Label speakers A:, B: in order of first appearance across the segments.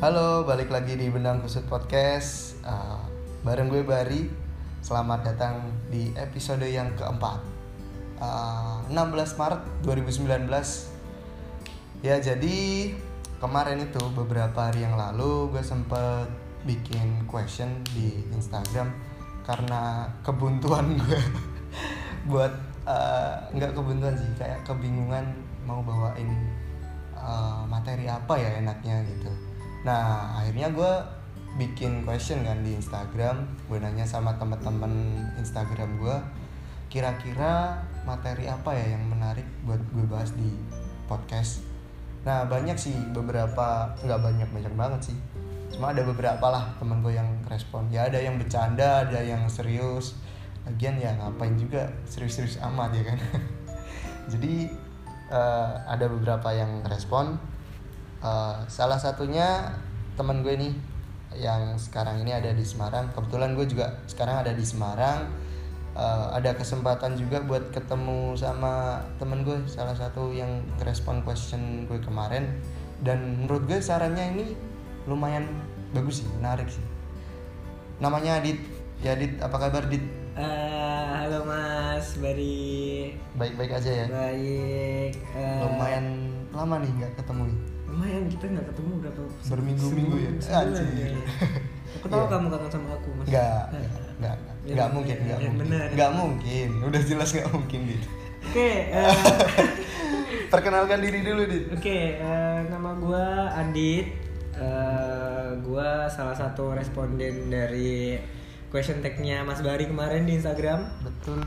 A: Halo, balik lagi di Benang Kusut Podcast Eh, Bareng gue Bari Selamat datang di episode yang keempat Eh, 16 Maret 2019 Ya jadi kemarin itu beberapa hari yang lalu gue sempet bikin question di Instagram karena kebuntuan gue buat eh, nggak kebuntuan sih kayak kebingungan mau bawain eh, materi apa ya enaknya gitu. Nah akhirnya gue bikin question kan di Instagram gue nanya sama temen-temen Instagram gue kira-kira materi apa ya yang menarik buat gue bahas di podcast nah banyak sih beberapa nggak banyak banyak banget sih cuma ada beberapa lah temen gue yang respon ya ada yang bercanda ada yang serius lagian ya ngapain juga serius-serius amat ya kan jadi eh, ada beberapa yang respon Eh, salah satunya temen gue nih yang sekarang ini ada di Semarang kebetulan gue juga sekarang ada di Semarang Eh, ada kesempatan juga buat ketemu sama temen gue salah satu yang respon question gue kemarin dan menurut gue sarannya ini lumayan bagus sih menarik sih namanya Adit ya Adit apa kabar Adit
B: Eh, halo Mas Bari.
A: baik-baik aja ya
B: Nah. Baik. eh,
A: lumayan lama nih nggak ketemu nih
B: Lumayan kita nggak ketemu berapa? se-
A: Berminggu-minggu ya?
B: sebulan
A: Anjir.
B: ya. Aku tahu
A: Iya.
B: kamu kangen sama aku Mas.
A: nggak
B: Eh,
A: nggak, nggak
B: Ya,
A: nggak mungkin nggak
B: ya,
A: mungkin
B: benar.
A: nggak mungkin udah jelas nggak mungkin dit
B: Oke. eh,
A: perkenalkan diri dulu dit
B: Oke. eh, nama gua Adit. Eh, gua salah satu responden dari question tag-nya Mas Bari kemarin di Instagram.
A: betul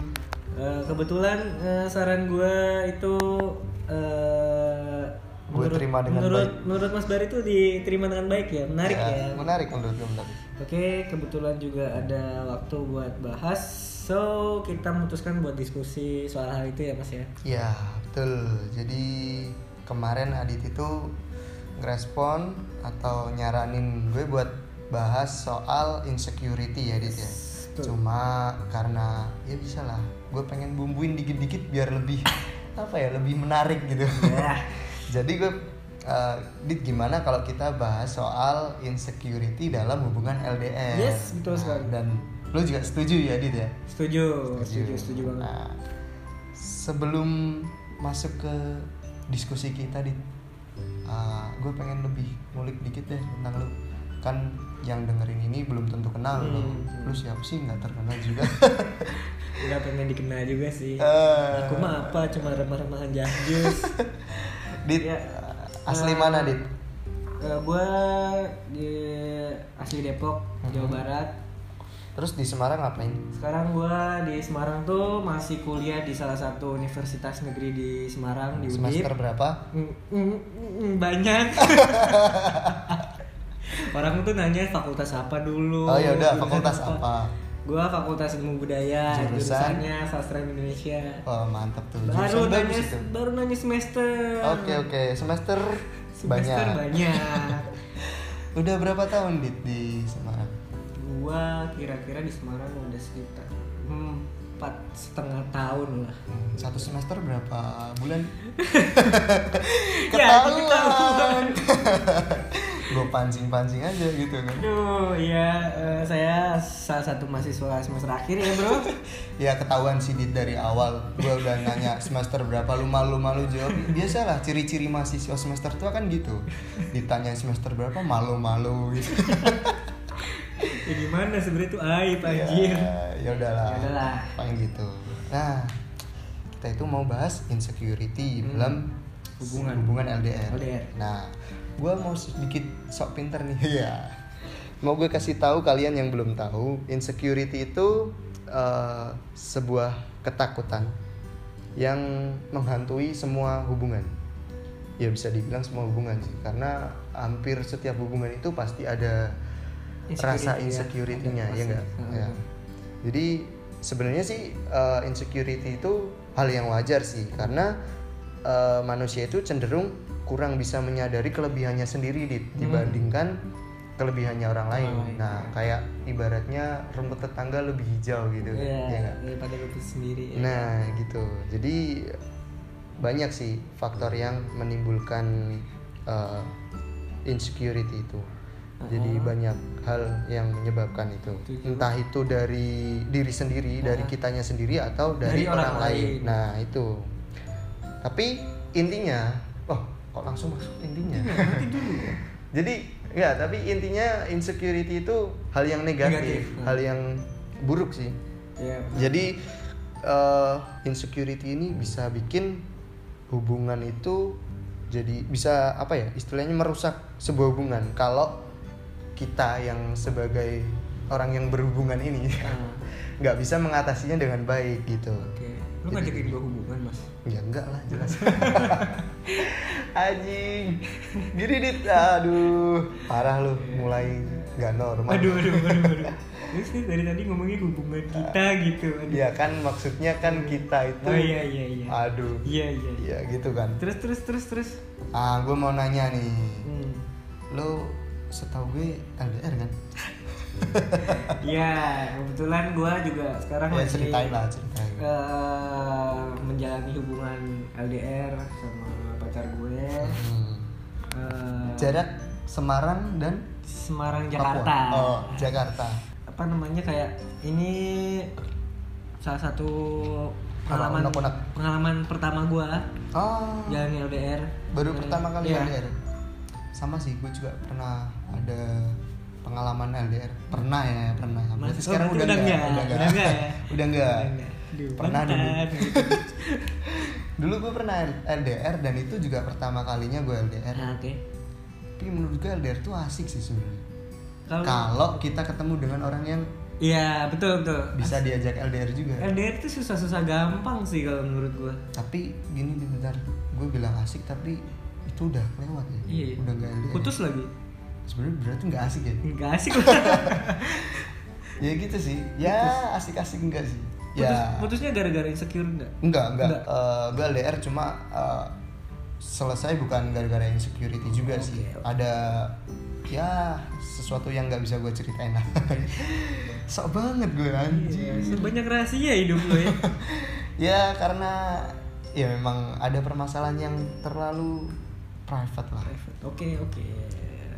B: Eh, kebetulan eh, saran gue itu eh,
A: Gue terima dengan
B: menurut,
A: baik.
B: menurut Mas Bar itu diterima dengan baik ya, menarik ya.
A: menarik menurut gue menarik
B: Oke, kebetulan juga ada waktu buat bahas, so kita memutuskan buat diskusi soal hal itu ya Mas ya.
A: Ya betul. Jadi kemarin Adit itu ngerespon atau nyaranin gue buat bahas soal insecurity ya Adit ya.
B: Betul.
A: Cuma karena ya bisa lah. Gue pengen bumbuin dikit-dikit biar lebih apa ya lebih menarik gitu.
B: Ya.
A: Jadi gue eh, Dit gimana kalau kita bahas soal insecurity dalam hubungan LDR?
B: Yes, betul sekali.
A: Nah, Dan lu juga setuju ya Dit ya?
B: Setuju, setuju, setuju banget.
A: Nah, sebelum masuk ke diskusi kita di, ah, gue pengen lebih ngulik dikit deh tentang lu. Kan yang dengerin ini belum tentu kenal lu.
B: Hmm.
A: Lu siapa sih nggak terkenal juga?
B: Gak pengen dikenal juga sih.
A: Eh.
B: Aku mah apa, cuma remah-remahan jahjus.
A: dit,
B: Iya.
A: ah, asli
B: Eh,
A: mana dit?
B: Eh, gua di asli Depok, Jawa
A: Hmm.
B: Barat.
A: Terus di Semarang ngapain?
B: Sekarang gua di Semarang tuh masih kuliah di salah satu universitas negeri di Semarang di
A: Semester
B: Unip.
A: berapa?
B: Mm, mm, mm, banyak. Orang tuh nanya fakultas apa dulu.
A: Oh ya udah,
B: jurusan
A: fakultas apa?
B: Gua fakultas ilmu budaya,
A: Jurusan?
B: jurusannya sastra Indonesia.
A: Oh, mantap tuh. Jurusan
B: Baru nanya,
A: bagus itu.
B: baru nanya semester.
A: Oke oke, semester,
B: Semester
A: banyak.
B: banyak.
A: Udah berapa tahun dit di Semarang?
B: gua kira-kira di Semarang udah sekitar hmm, empat setengah tahun lah
A: Hmm, Satu semester berapa bulan?
B: Ya, aku
A: Ketahuan. Gue pancing-pancing aja gitu kan.
B: aduh ya eh, saya salah satu mahasiswa semester akhir ya bro
A: Ya ketahuan sih Dit dari awal. Gua udah nanya semester berapa lu malu-malu jawab. Biasalah ciri-ciri mahasiswa semester tua kan gitu. Ditanya semester berapa malu-malu gitu.
B: ya gimana sebenarnya tuh aib
A: Ya,
B: anjir
A: ya udahlah.
B: Ya udahlah.
A: Paling gitu. Nah, kita itu mau bahas insecurity
B: Hmm.
A: dalam
B: Hubungan.
A: hubungan LDR.
B: LDR.
A: Nah, gue mau sedikit sok pinter nih. Iya. Mau gue kasih tahu kalian yang belum tahu, insecurity itu eh, sebuah ketakutan yang menghantui semua hubungan. Ya bisa dibilang semua hubungan sih, karena hampir setiap hubungan itu pasti ada rasa
B: Insecurity
A: insecurity-nya,
B: ya. Ada
A: ya
B: pasti.
A: enggak?
B: Heeh.
A: Ya. Jadi sebenarnya sih eh, insecurity itu hal yang wajar sih karena eh, manusia itu cenderung kurang bisa menyadari kelebihannya sendiri Dit, dibandingkan kelebihannya orang lain.
B: Hmm. Orang lain,
A: Nah,
B: ya.
A: kayak ibaratnya rumput tetangga lebih hijau gitu.
B: ya,
A: ya enggak?
B: daripada lu sendiri ya.
A: Nah, gitu. Jadi banyak sih faktor yang menimbulkan eh, insecurity itu. Jadi banyak hal yang menyebabkan itu.
B: Setuju.
A: Entah itu dari diri sendiri, dari kitanya sendiri atau dari,
B: Dari orang lain.
A: Nah, itu. Tapi intinya, oh, kok langsung masuk intinya.
B: Iya,
A: Jadi, ya, tapi intinya insecurity itu hal yang
B: Negatif. ya.
A: negatif. hal yang buruk sih.
B: Iya.
A: Jadi eh, insecurity ini bisa bikin hubungan itu jadi bisa apa ya istilahnya merusak sebuah hubungan kalau kita yang sebagai orang yang berhubungan ini
B: Ah.
A: nggak bisa mengatasinya dengan baik gitu.
B: Oke. Lu ngajakin gua hubungan, Mas.
A: Ya enggak lah jelas. Anjing. Diridit aduh parah lu mulai nggak normal.
B: Aduh, aduh, aduh, aduh. Terus nih dari tadi ngomongin hubungan kita gitu. Aduh.
A: Ya kan maksudnya kan kita itu
B: Oh iya iya iya.
A: aduh.
B: Iya iya. iya.
A: Iya gitu kan.
B: Terus terus terus terus.
A: Ah, gue mau nanya nih.
B: Hmm.
A: Lo setahu gue LDR kan?
B: Iya, kebetulan gua juga
A: Ya,
B: sekarang lagi
A: ceritain lah, ceritain.
B: eh, menjalani hubungan LDR sama pacar gue.
A: Hmm.
B: Eh,
A: Jarak Semarang dan
B: Semarang
A: Papua.
B: Jakarta.
A: Oh, Jakarta.
B: Apa namanya kayak ini salah satu
A: Apa,
B: pengalaman
A: unek-unek?
B: pengalaman pertama gua
A: Oh,
B: jalan LDR.
A: baru
B: Eh,
A: pertama kali
B: Ya. iya.
A: LDR. Sama sih, gue juga pernah ada pengalaman LDR. Pernah ya, pernah. Berarti
B: Mas- oh,
A: sekarang
B: berarti
A: udah
B: udah
A: enggak,
B: enggak.
A: udah enggak.
B: Udah enggak ya?
A: Udah enggak.
B: Aduh,
A: Pernah dulu.
B: mantan, gitu.
A: Dulu gue pernah LDR dan itu juga pertama kalinya gue LDR.
B: Nah, Oke.
A: Tapi menurut gue LDR tuh asik sih sebenarnya.
B: Kalau
A: Kalau kita ketemu dengan orang yang
B: Iya, betul betul.
A: bisa diajak LDR juga.
B: LDR itu susah-susah gampang sih kalau menurut gua.
A: Tapi gini nih, bentar, gue bilang asik tapi itu udah lewat ya.
B: Iya.
A: Udah nggak LDR.
B: Putus lagi.
A: Sebenarnya berarti nggak asik ya.
B: Enggak asik lah.
A: Ya gitu sih. Ya asik-asik enggak sih.
B: Putus,
A: Ya.
B: putusnya gara-gara insecure enggak?
A: Enggak, enggak.
B: Enggak.
A: Eh, gue LDR cuma eh, selesai bukan gara-gara insecurity juga
B: Oke.
A: sih. Ada ya sesuatu yang nggak bisa gue ceritain lah. Sok banget gue anjir.
B: Iya, sebanyak rahasia hidup lo ya.
A: ya karena ya memang ada permasalahan yang terlalu private lah
B: Private. Oke, oke.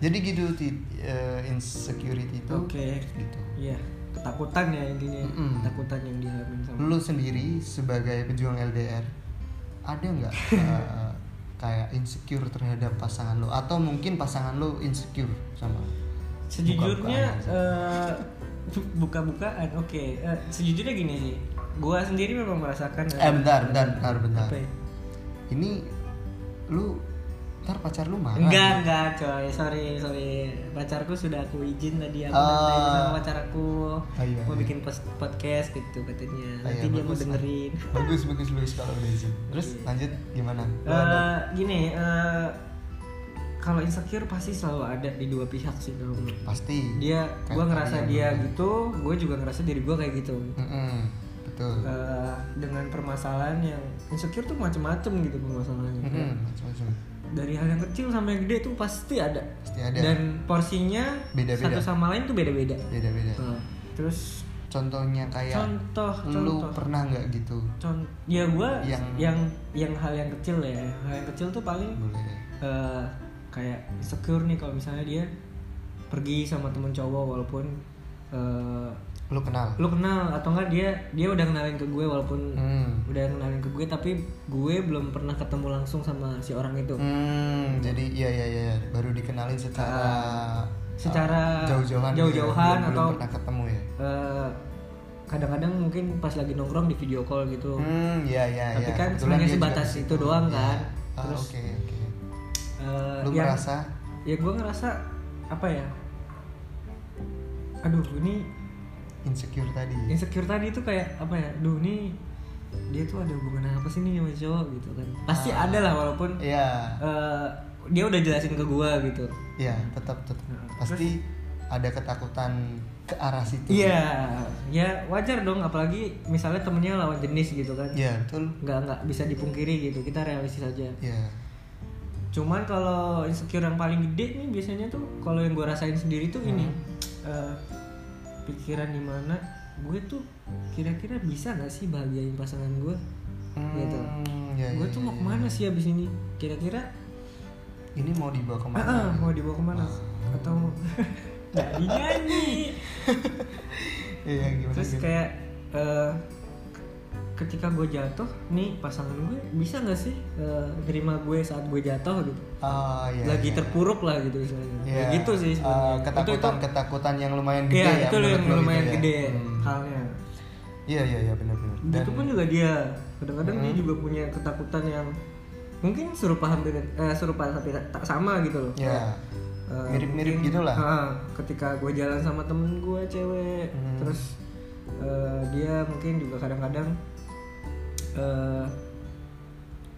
A: jadi gitu Tit, eh, insecurity itu
B: Oke.
A: gitu
B: Iya, ketakutan ya intinya.
A: Mm-mm.
B: Ketakutan yang dialami sama.
A: lu sendiri sebagai pejuang LDR ada nggak eh, kayak insecure terhadap pasangan lu atau mungkin pasangan lu insecure sama lu?
B: Sejujurnya
A: Buka-bukaan aja.
B: eh, buka-bukaan. Oke, Eh, sejujurnya gini sih. Gua sendiri memang merasakan ya?
A: eh bentar bentar bentar bentar
B: Apa ya?
A: ini lu ntar pacar lu marah
B: Enggak, enggak coy, sorry, sorry Pacarku sudah aku izin tadi Aku
A: Ah.
B: nanti sama pacar aku
A: Ah, iya,
B: Mau
A: iya.
B: bikin pos- podcast gitu katanya
A: Ah,
B: Nanti
A: iya,
B: dia mau
A: bagus.
B: dengerin
A: bagus bagus bagus kalau udah izin terus lanjut gimana Lu ada-
B: Eh, Gini, eh, kalau insecure pasti selalu ada di dua pihak sih kalau menurut gue.
A: pasti
B: Dia,
A: Kayak
B: gue
A: tadi
B: ngerasa
A: yang
B: dia
A: lu-
B: gitu, gue juga ngerasa diri gue kayak gitu
A: Mm-mm, betul
B: Eh, Dengan permasalahan yang insecure tuh macem-macem gitu permasalahannya
A: Mm-mm, macam-macam.
B: dari hal yang kecil sampai yang gede tuh pasti ada
A: Pasti ada.
B: dan porsinya
A: Beda-beda.
B: satu sama lain tuh beda-beda
A: beda-beda
B: Nah, terus
A: contohnya kayak
B: contoh
A: lu
B: contoh
A: pernah nggak gitu
B: contoh ya gue yang,
A: Yang-
B: yang hal yang kecil ya hal yang kecil tuh paling
A: boleh deh
B: eh, kayak insecure nih kalau misalnya dia pergi sama temen cowok walaupun eh,
A: lu kenal
B: lu kenal atau enggak dia dia udah kenalin ke gue walaupun
A: hmm.
B: udah kenalin ke gue tapi gue belum pernah ketemu langsung sama si orang itu
A: Hmm, jadi iya iya iya baru dikenalin secara
B: Ah, secara
A: eh, jauh-jauhan gitu ya.
B: jauh-jauhan
A: Belum-
B: atau-
A: belum pernah ketemu ya
B: Eh, kadang-kadang mungkin pas lagi nongkrong di video call gitu
A: hmm iya iya
B: Tapi
A: iya.
B: kan
A: Kebetulan
B: sebenarnya
A: dia juga
B: sebatas
A: di situ.
B: itu doang
A: Iya.
B: kan.
A: Ah,
B: Terus-
A: oke oke
B: Eh,
A: lu
B: yang-
A: merasa
B: ya gue ngerasa apa ya aduh ini
A: insecure tadi
B: insecure tadi itu kayak apa ya duh ini dia tuh ada hubungan apa sih nih sama cowok gitu kan pasti
A: Ah.
B: ada lah walaupun
A: iya
B: eh, dia udah jelasin ke gue gitu
A: iya tetap tetap
B: Nah,
A: pasti ada ketakutan ke arah situ
B: iya ya wajar dong apalagi misalnya temennya lawan jenis gitu kan
A: iya betul
B: nggak nggak bisa dipungkiri gitu kita realistis aja
A: iya
B: cuman kalau insecure yang paling gede nih biasanya tuh kalau yang gue rasain sendiri tuh ini
A: Hmm.
B: eh, pikiran dimana gue tuh kira-kira bisa nggak sih bahagiain pasangan gue gitu
A: Hmm, iya,
B: gue
A: iya,
B: tuh
A: iya,
B: mau
A: iya.
B: kemana sih abis ini kira-kira
A: ini ah, mau dibawa kemana
B: ah, ah, mau dibawa kemana
A: Ah.
B: atau jadi nyanyi
A: Iya gimana?
B: terus
A: gimana?
B: kayak eh, ketika gue jatuh nih pasangan gue bisa nggak sih eh, nerima gue saat gue jatuh gitu
A: Ah, iya,
B: lagi
A: iya.
B: terpuruk lah gitu istilahnya
A: Iya.
B: Kayak gitu sih sebenarnya.
A: Eh, ketakutan
B: itu, itu,
A: ketakutan yang lumayan gede
B: Iya,
A: ya,
B: itu loh
A: menurut
B: yang
A: lo gitu
B: lumayan
A: ya?
B: gede
A: Hmm.
B: halnya
A: Iya iya iya benar-benar. Dan Hmm.
B: itu pun juga dia kadang-kadang dia juga punya ketakutan yang mungkin serupa hampir eh, serupa tapi tak- tak sama gitu loh
A: ya
B: Eh,
A: mirip-mirip
B: mungkin,
A: gitulah.
B: ah, ketika gue jalan sama temen gue cewek
A: Hmm.
B: terus eh, dia mungkin juga kadang-kadang eh,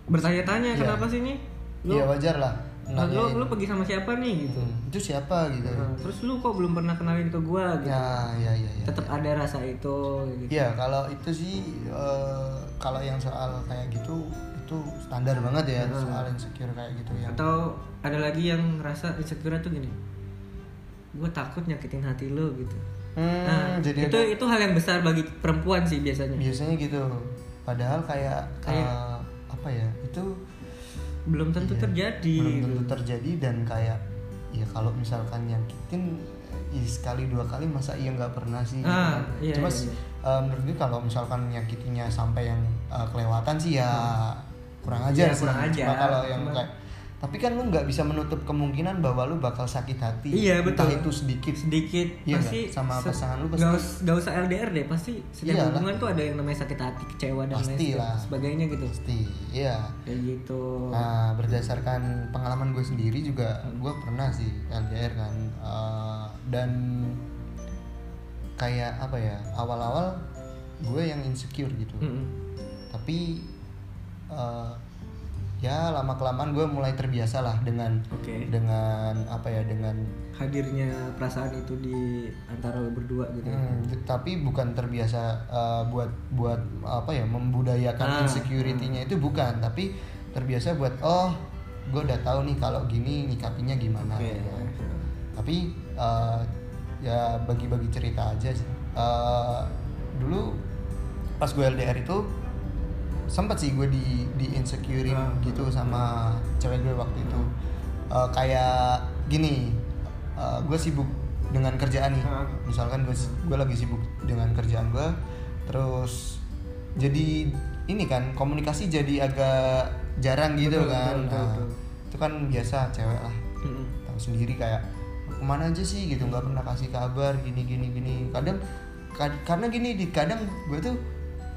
B: bertanya-tanya
A: Iya.
B: kenapa sih nih lu
A: Iya wajar lah.
B: ah, lu,
A: nanyain.
B: lu pergi sama siapa nih gitu
A: Hmm, Itu siapa gitu?
B: Nah, terus lu kok belum pernah kenalin ke gue gitu
A: Ya ya ya. ya.
B: tetap ada rasa itu gitu
A: Iya kalau itu sih eh, kalau yang soal kayak gitu itu standar banget ya
B: Hmm.
A: soal insecure kayak gitu yang
B: atau ada lagi yang ngerasa insecure tuh gini gue takut nyakitin hati lu gitu
A: Hmm,
B: nah
A: jadi
B: itu
A: ada-
B: itu hal yang besar bagi perempuan sih biasanya
A: biasanya gitu. Padahal kayak
B: Kayak-
A: eh, apa ya itu
B: belum tentu
A: iya,
B: terjadi
A: belum
B: gitu.
A: tentu terjadi dan kayak ya kalau misalkan nyakitin ya sekali dua kali masa iya nggak pernah sih. gitu kan.
B: Ah, iya,
A: Cuma
B: iya,
A: sih,
B: iya.
A: eh, menurut gue kalau misalkan nyakitinnya sampai yang eh, kelewatan sih ya kurang
B: Iya,
A: ajar sih.
B: kurang
A: Cuma
B: ajar.
A: kalau yang
B: Cuma-
A: kayak tapi kan lu nggak bisa menutup kemungkinan bahwa lu bakal sakit hati.
B: Iya,
A: Entah
B: betul.
A: itu sedikit.
B: sedikit
A: Iya
B: pasti
A: nggak? Sama pasangan lu pasti.
B: gak, us- gak usah LDR deh pasti setiap
A: Iyalah.
B: hubungan tuh ada yang namanya sakit hati kecewa dan lain
A: Pastilah.
B: sebagainya gitu
A: Pasti. Iya.
B: kayak gitu
A: Nah, berdasarkan pengalaman gue sendiri juga, gue pernah sih LDR kan, Eh, dan kayak apa ya, awal-awal gue yang insecure gitu,
B: Mm-mm.
A: tapi eh, ya lama kelamaan gue mulai terbiasa lah dengan
B: oke
A: dengan apa ya dengan
B: hadirnya perasaan itu di antara lo berdua gitu
A: Hmm, t- tapi bukan terbiasa uh, buat buat apa ya
B: Ah,
A: membudayakan
B: nah.
A: insecurity-nya itu bukan, tapi terbiasa buat oh gue udah tahu nih kalau gini nyikapinya gimana.
B: Oke.
A: gitu. Tapi uh, ya bagi-bagi cerita aja. sih. Uh, dulu pas gue LDR itu sempat sih gue di di insecurein
B: Ah.
A: gitu sama cewek gue waktu itu Uh, kayak gini uh, gue sibuk dengan kerjaan nih
B: Ah.
A: misalkan gue gue lagi sibuk dengan kerjaan gue terus jadi ini kan komunikasi jadi agak jarang gitu
B: Betul,
A: kan
B: betul, betul,
A: Nah,
B: betul.
A: itu kan biasa cewek lah
B: Mm-mm.
A: tahu sendiri kayak kemana aja sih gitu nggak pernah kasih kabar gini gini gini kadang kad- karena gini di kadang gue tuh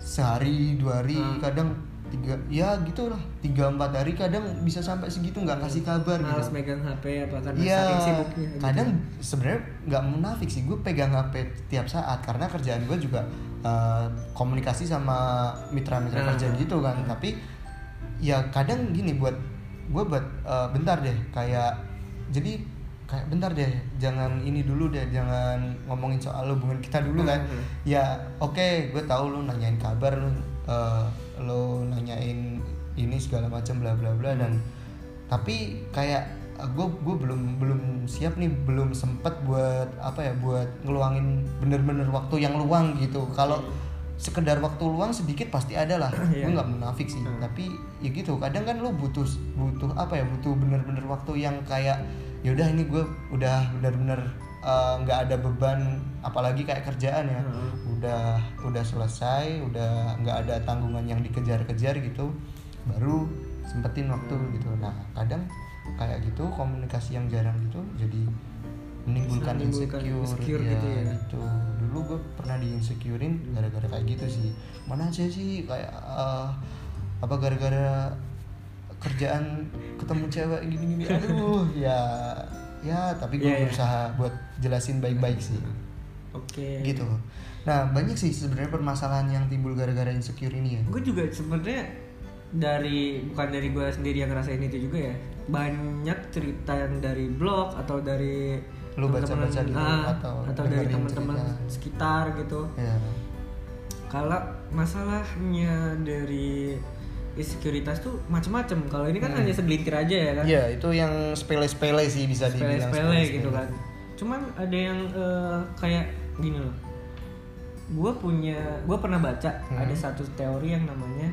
A: sehari dua hari
B: Hmm.
A: kadang tiga ya gitulah tiga empat hari kadang bisa sampai segitu nggak kasih kabar
B: males
A: gitu
B: megang HP apa karena saking
A: Iya,
B: sibuknya gitu.
A: kadang sebenarnya nggak munafik sih gue pegang HP tiap saat karena kerjaan gue juga eh, komunikasi sama mitra-mitra
B: Ah.
A: kerja gitu kan. Tapi ya kadang gini buat gue buat eh, bentar deh kayak jadi kayak bentar deh jangan ini dulu deh jangan ngomongin soal hubungan kita dulu kan.
B: Hmm.
A: Ya oke gue tahu lu nanyain kabar lu eh, lu nanyain ini segala macam bla bla bla dan
B: Hmm.
A: tapi kayak gue gue belum belum siap nih belum sempet buat apa ya buat ngeluangin bener-bener waktu yang luang gitu kalau sekedar waktu luang sedikit pasti ada lah
B: Iya.
A: gue nggak munafik sih
B: Hmm.
A: tapi ya gitu kadang kan lo butuh butuh apa ya butuh bener-bener waktu yang kayak yaudah ini gue udah bener-bener eh, nggak ada beban apalagi kayak kerjaan ya
B: Hmm.
A: udah udah selesai udah nggak ada tanggungan yang dikejar-kejar gitu baru sempetin waktu
B: Hmm.
A: gitu nah kadang kayak gitu komunikasi yang jarang gitu jadi menimbulkan
B: Menimbulkan
A: insecure,
B: insecure gitu ya.
A: gitu. dulu gue pernah diinsecurein gara-gara kayak gitu sih mana aja sih kayak eh, apa gara-gara kerjaan ketemu cewek gini-gini aduh ya ya tapi gue
B: Iya, iya.
A: berusaha buat jelasin baik-baik sih
B: oke
A: gitu nah banyak sih sebenarnya permasalahan yang timbul gara-gara insecure ini ya
B: gue juga sebenarnya dari bukan dari gue sendiri yang ngerasain itu juga ya banyak cerita yang dari blog atau dari
A: Lu
B: teman-teman,
A: baca-baca gitu,
B: ah,
A: atau
B: atau dari
A: dengerin
B: teman-teman
A: cerita.
B: sekitar gitu
A: ya
B: kalau masalahnya dari insekuritas tuh macam-macam kalau ini kan
A: Hmm.
B: hanya segelintir aja ya kan
A: Iya, itu yang sepele-sepele sih bisa dibilang
B: sepele-sepele gitu
A: sepele-sepele.
B: kan cuman ada yang eh, kayak gini loh gue punya gue pernah baca
A: Hmm.
B: ada satu teori yang namanya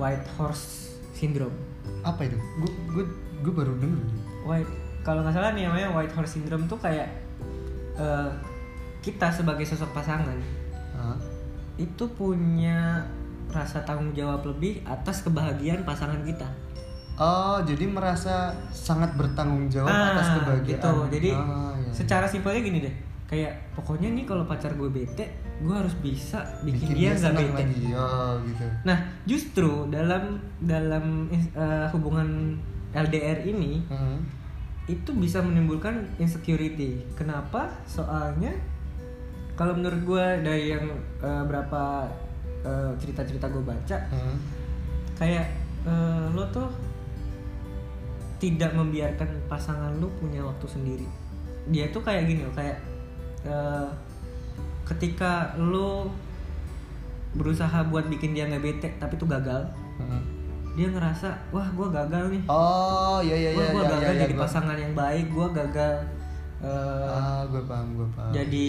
B: white horse syndrome
A: apa itu gue gue gue baru denger
B: white kalau nggak salah nih namanya white horse syndrome tuh kayak eh, kita sebagai sosok pasangan
A: Hah?
B: itu punya rasa tanggung jawab lebih atas kebahagiaan pasangan kita.
A: Oh, jadi merasa sangat bertanggung jawab atas
B: Ah,
A: kebahagiaan.
B: gitu. Jadi
A: Ah, iya.
B: secara simpelnya gini deh. Kayak pokoknya nih kalau pacar gue bete, gue harus bisa bikin, dia nggak
A: senang
B: bete.
A: lagi. Oh, gitu.
B: Nah, justru dalam dalam eh, hubungan LDR ini
A: Hmm.
B: itu bisa menimbulkan insecurity. Kenapa? Soalnya kalau menurut gue dari yang eh, berapa eh, cerita-cerita gue baca,
A: Hmm.
B: kayak eh, lo tuh tidak membiarkan pasangan lo punya waktu sendiri dia tuh kayak gini loh kayak eh, ketika lo berusaha buat bikin dia nggak bete tapi tuh gagal
A: Hmm.
B: dia ngerasa wah gue gagal nih
A: Oh, iya iya
B: gue
A: iya. iya,
B: gagal
A: iya,
B: jadi
A: gua-
B: pasangan yang baik gue gagal eh,
A: Ah, gue paham, gue paham.
B: jadi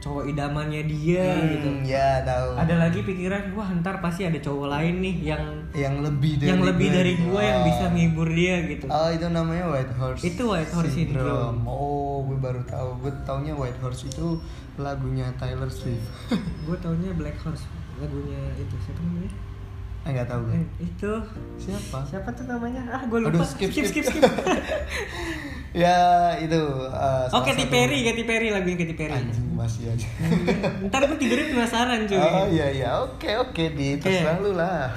B: cowok idamannya dia
A: Hmm,
B: gitu
A: Ya, tahu.
B: ada lagi pikiran wah ntar pasti ada cowok lain nih yang
A: yang lebih dari
B: yang lebih dari gue yang
A: Oh.
B: bisa menghibur dia gitu.
A: Oh, itu namanya white horse.
B: Itu white horse syndrome.
A: Oh, gue baru tahu. Gue taunya white horse itu lagunya Taylor Swift.
B: Gue taunya Black Horse lagunya itu siapa namanya?
A: Ah, Nggak tahu gue.
B: Eh, itu
A: Siapa?
B: siapa tuh namanya? Ah, gue lupa.
A: Aduh, skip,
B: skip skip.
A: skip.
B: skip.
A: ya itu eh, salah
B: Oke, Katy
A: satu-
B: Perry, Katy Perry lagunya Katy Perry. Hmm,
A: anjing masih aja
B: Ntar gue tidurnya penasaran cuy.
A: oh iya iya oke oke di
B: ya. Oke.
A: terserah lu lah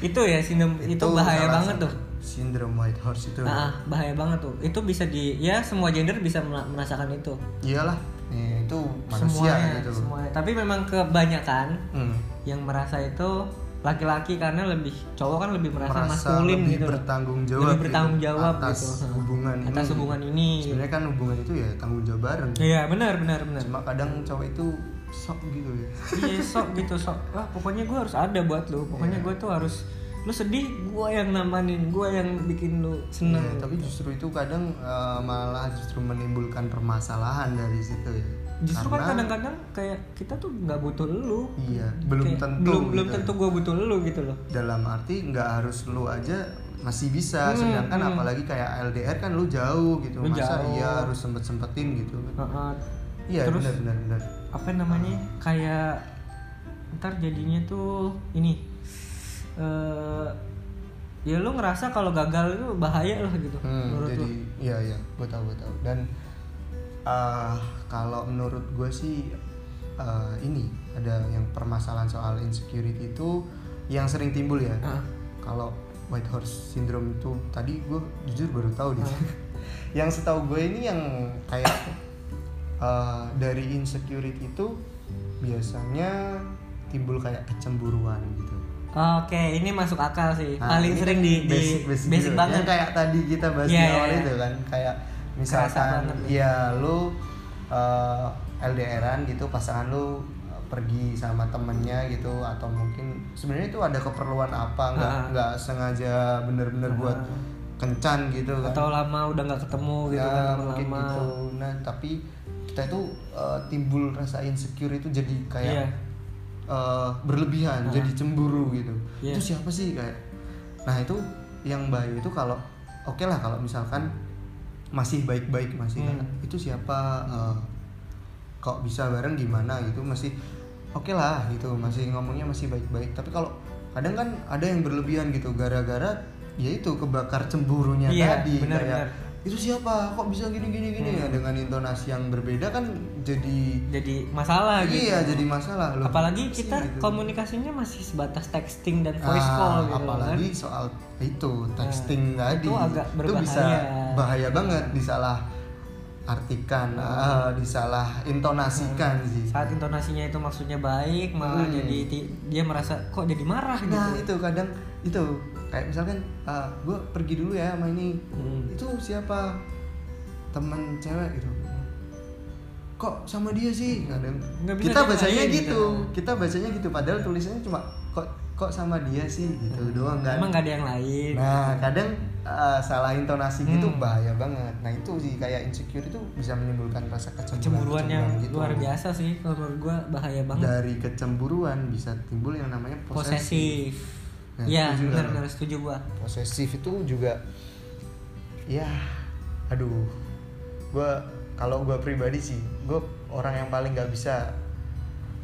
B: Itu ya sindrom itu, bahaya
A: salah
B: banget
A: satu
B: tuh.
A: sindrom white horse itu
B: Ah, bahaya banget tuh. Itu bisa di ya semua gender bisa mela- merasakan itu.
A: iyalah nih itu manusia
B: semuanya,
A: gitu
B: semuanya. Tapi memang kebanyakan
A: Hmm.
B: yang merasa itu laki-laki karena lebih cowok kan lebih merasa,
A: merasa
B: maskulin
A: lebih
B: gitu loh.
A: bertanggung jawab
B: lebih
A: gitu
B: bertanggung jawab
A: atas
B: gitu
A: hubungan
B: atas
A: ini.
B: hubungan ini gitu.
A: sebenarnya kan hubungan itu ya tanggung jawab bareng
B: iya benar benar benar
A: cuma kadang cowok itu sok gitu ya
B: iya sok gitu sok wah pokoknya gue harus ada buat lu pokoknya
A: Iya.
B: gue tuh harus lu sedih gue yang namanin gue yang bikin lu seneng
A: Iya, tapi justru itu kadang eh, malah justru menimbulkan permasalahan dari situ ya
B: justru kan
A: Karena-
B: kadang-kadang kayak kita tuh nggak butuh lu
A: Iya, belum
B: Kayak
A: tentu.
B: belum belum
A: gitu.
B: tentu gue butuh lu gitu loh
A: Dalam arti nggak harus lu aja masih bisa,
B: Hmm,
A: sedangkan
B: hmm.
A: apalagi kayak LDR kan lu jauh gitu,
B: Lu
A: masa
B: jauh.
A: iya harus sempet sempetin gitu. kan.
B: Heeh.
A: Iya
B: terus
A: benar benar benar.
B: apa namanya kayak ntar jadinya tuh ini eh ya lu ngerasa kalau gagal itu bahaya lah gitu
A: Hmm,
B: menurut
A: jadi
B: lu
A: iya iya, gue tahu gue tahu. Dan ah, kalau menurut gue sih ah, ini ada yang permasalahan soal insecurity itu yang sering timbul ya.
B: Ah.
A: Kalau white horse syndrome itu tadi gue jujur baru tahu deh.
B: Ah.
A: yang setahu gue ini yang kayak ah, dari insecurity itu biasanya timbul kayak kecemburuan gitu.
B: oke ini masuk akal sih
A: Nah,
B: paling
A: ini
B: sering
A: kan
B: di di
A: basic, basic, gitu.
B: banget
A: Yang kayak tadi kita bahas
B: Iya,
A: di awal
B: iya, iya.
A: itu kan kayak
B: Kerasa
A: misalkan
B: banget.
A: ya lu eh, LDRan gitu pasangan lu eh, pergi sama temennya gitu atau mungkin sebenarnya itu ada keperluan apa nggak
B: Ah.
A: nggak sengaja bener-bener
B: Ah.
A: buat kencan gitu kan
B: atau lama udah nggak ketemu gitu
A: Ya,
B: kan teman
A: mungkin
B: lama
A: gitu nah tapi kita itu eh, timbul rasa insecure itu jadi kayak
B: Iya.
A: eh, berlebihan
B: Ah.
A: jadi cemburu gitu itu
B: Iya.
A: siapa sih kayak nah itu yang bahaya itu kalau oke lah kalau misalkan masih baik-baik masih
B: Hmm.
A: kan, itu siapa eh, kok bisa bareng gimana gitu masih oke lah gitu masih ngomongnya masih baik-baik tapi kalau kadang kan ada yang berlebihan gitu gara-gara ya itu kebakar cemburunya
B: Iya,
A: tadi
B: benar,
A: kayak
B: benar.
A: itu siapa kok bisa gini gini gini
B: Hmm.
A: Nah, dengan intonasi yang berbeda kan jadi
B: jadi masalah gitu
A: iya jadi masalah loh
B: apalagi
A: Apa sih
B: kita
A: gitu?
B: komunikasinya masih sebatas texting dan voice
A: Ah,
B: call gitu
A: apalagi
B: kan Nah,
A: soal itu texting tadi
B: itu agak berbahaya. Hmm.
A: ah,
B: saat intonasinya itu maksudnya baik malah
A: Hmm.
B: jadi ti- dia merasa kok jadi marah gitu
A: nah itu kadang itu kayak misalkan gue pergi dulu ya sama ini
B: Hmm.
A: itu siapa teman cewek gitu kok sama dia sih kadang
B: Hmm. Nggak bisa
A: kita bacanya
B: disalahin
A: gitu.
B: gitu. Iya.
A: kita bacanya gitu padahal tulisannya cuma kok kok sama dia sih gitu doang kan
B: Hmm. emang gak ada yang lain
A: nah kadang eh, salah intonasi gitu
B: Hmm.
A: bahaya banget nah itu sih kayak insecure itu bisa menimbulkan rasa
B: kecemburuan
A: kecemburuan
B: yang
A: gitu.
B: luar biasa sih kalau menurut gua bahaya banget
A: dari kecemburuan bisa timbul yang namanya posesif
B: posesif
A: Nah, setuju
B: ya
A: nggak
B: benar
A: lo?
B: benar setuju gua
A: posesif itu juga ya aduh gue kalau gue pribadi sih gue orang yang paling nggak bisa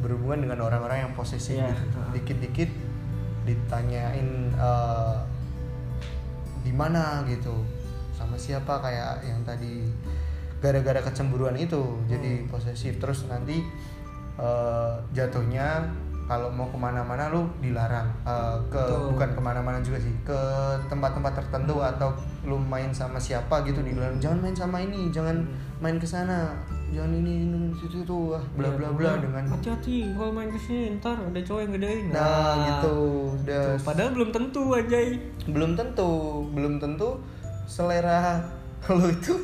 A: berhubungan dengan orang-orang yang posesif
B: Iya,
A: gitu.
B: heeh.
A: dikit-dikit ditanyain eh, di mana gitu sama siapa kayak yang tadi gara-gara kecemburuan itu jadi
B: Hmm.
A: posesif terus nanti eh, jatuhnya kalau mau kemana-mana lu dilarang Eh, ke
B: Betul.
A: bukan kemana-mana juga sih ke tempat-tempat tertentu atau lu main sama siapa gitu dilarang jangan main sama ini jangan main ke sana jangan ini ini situ itu wah bla bla bla
B: Hmm. Iya,
A: dengan
B: hati-hati kalau main kesini ntar ada cowok yang gedein
A: nah, gitu udah
B: Tuh, padahal belum tentu anjay
A: belum tentu belum tentu selera lu itu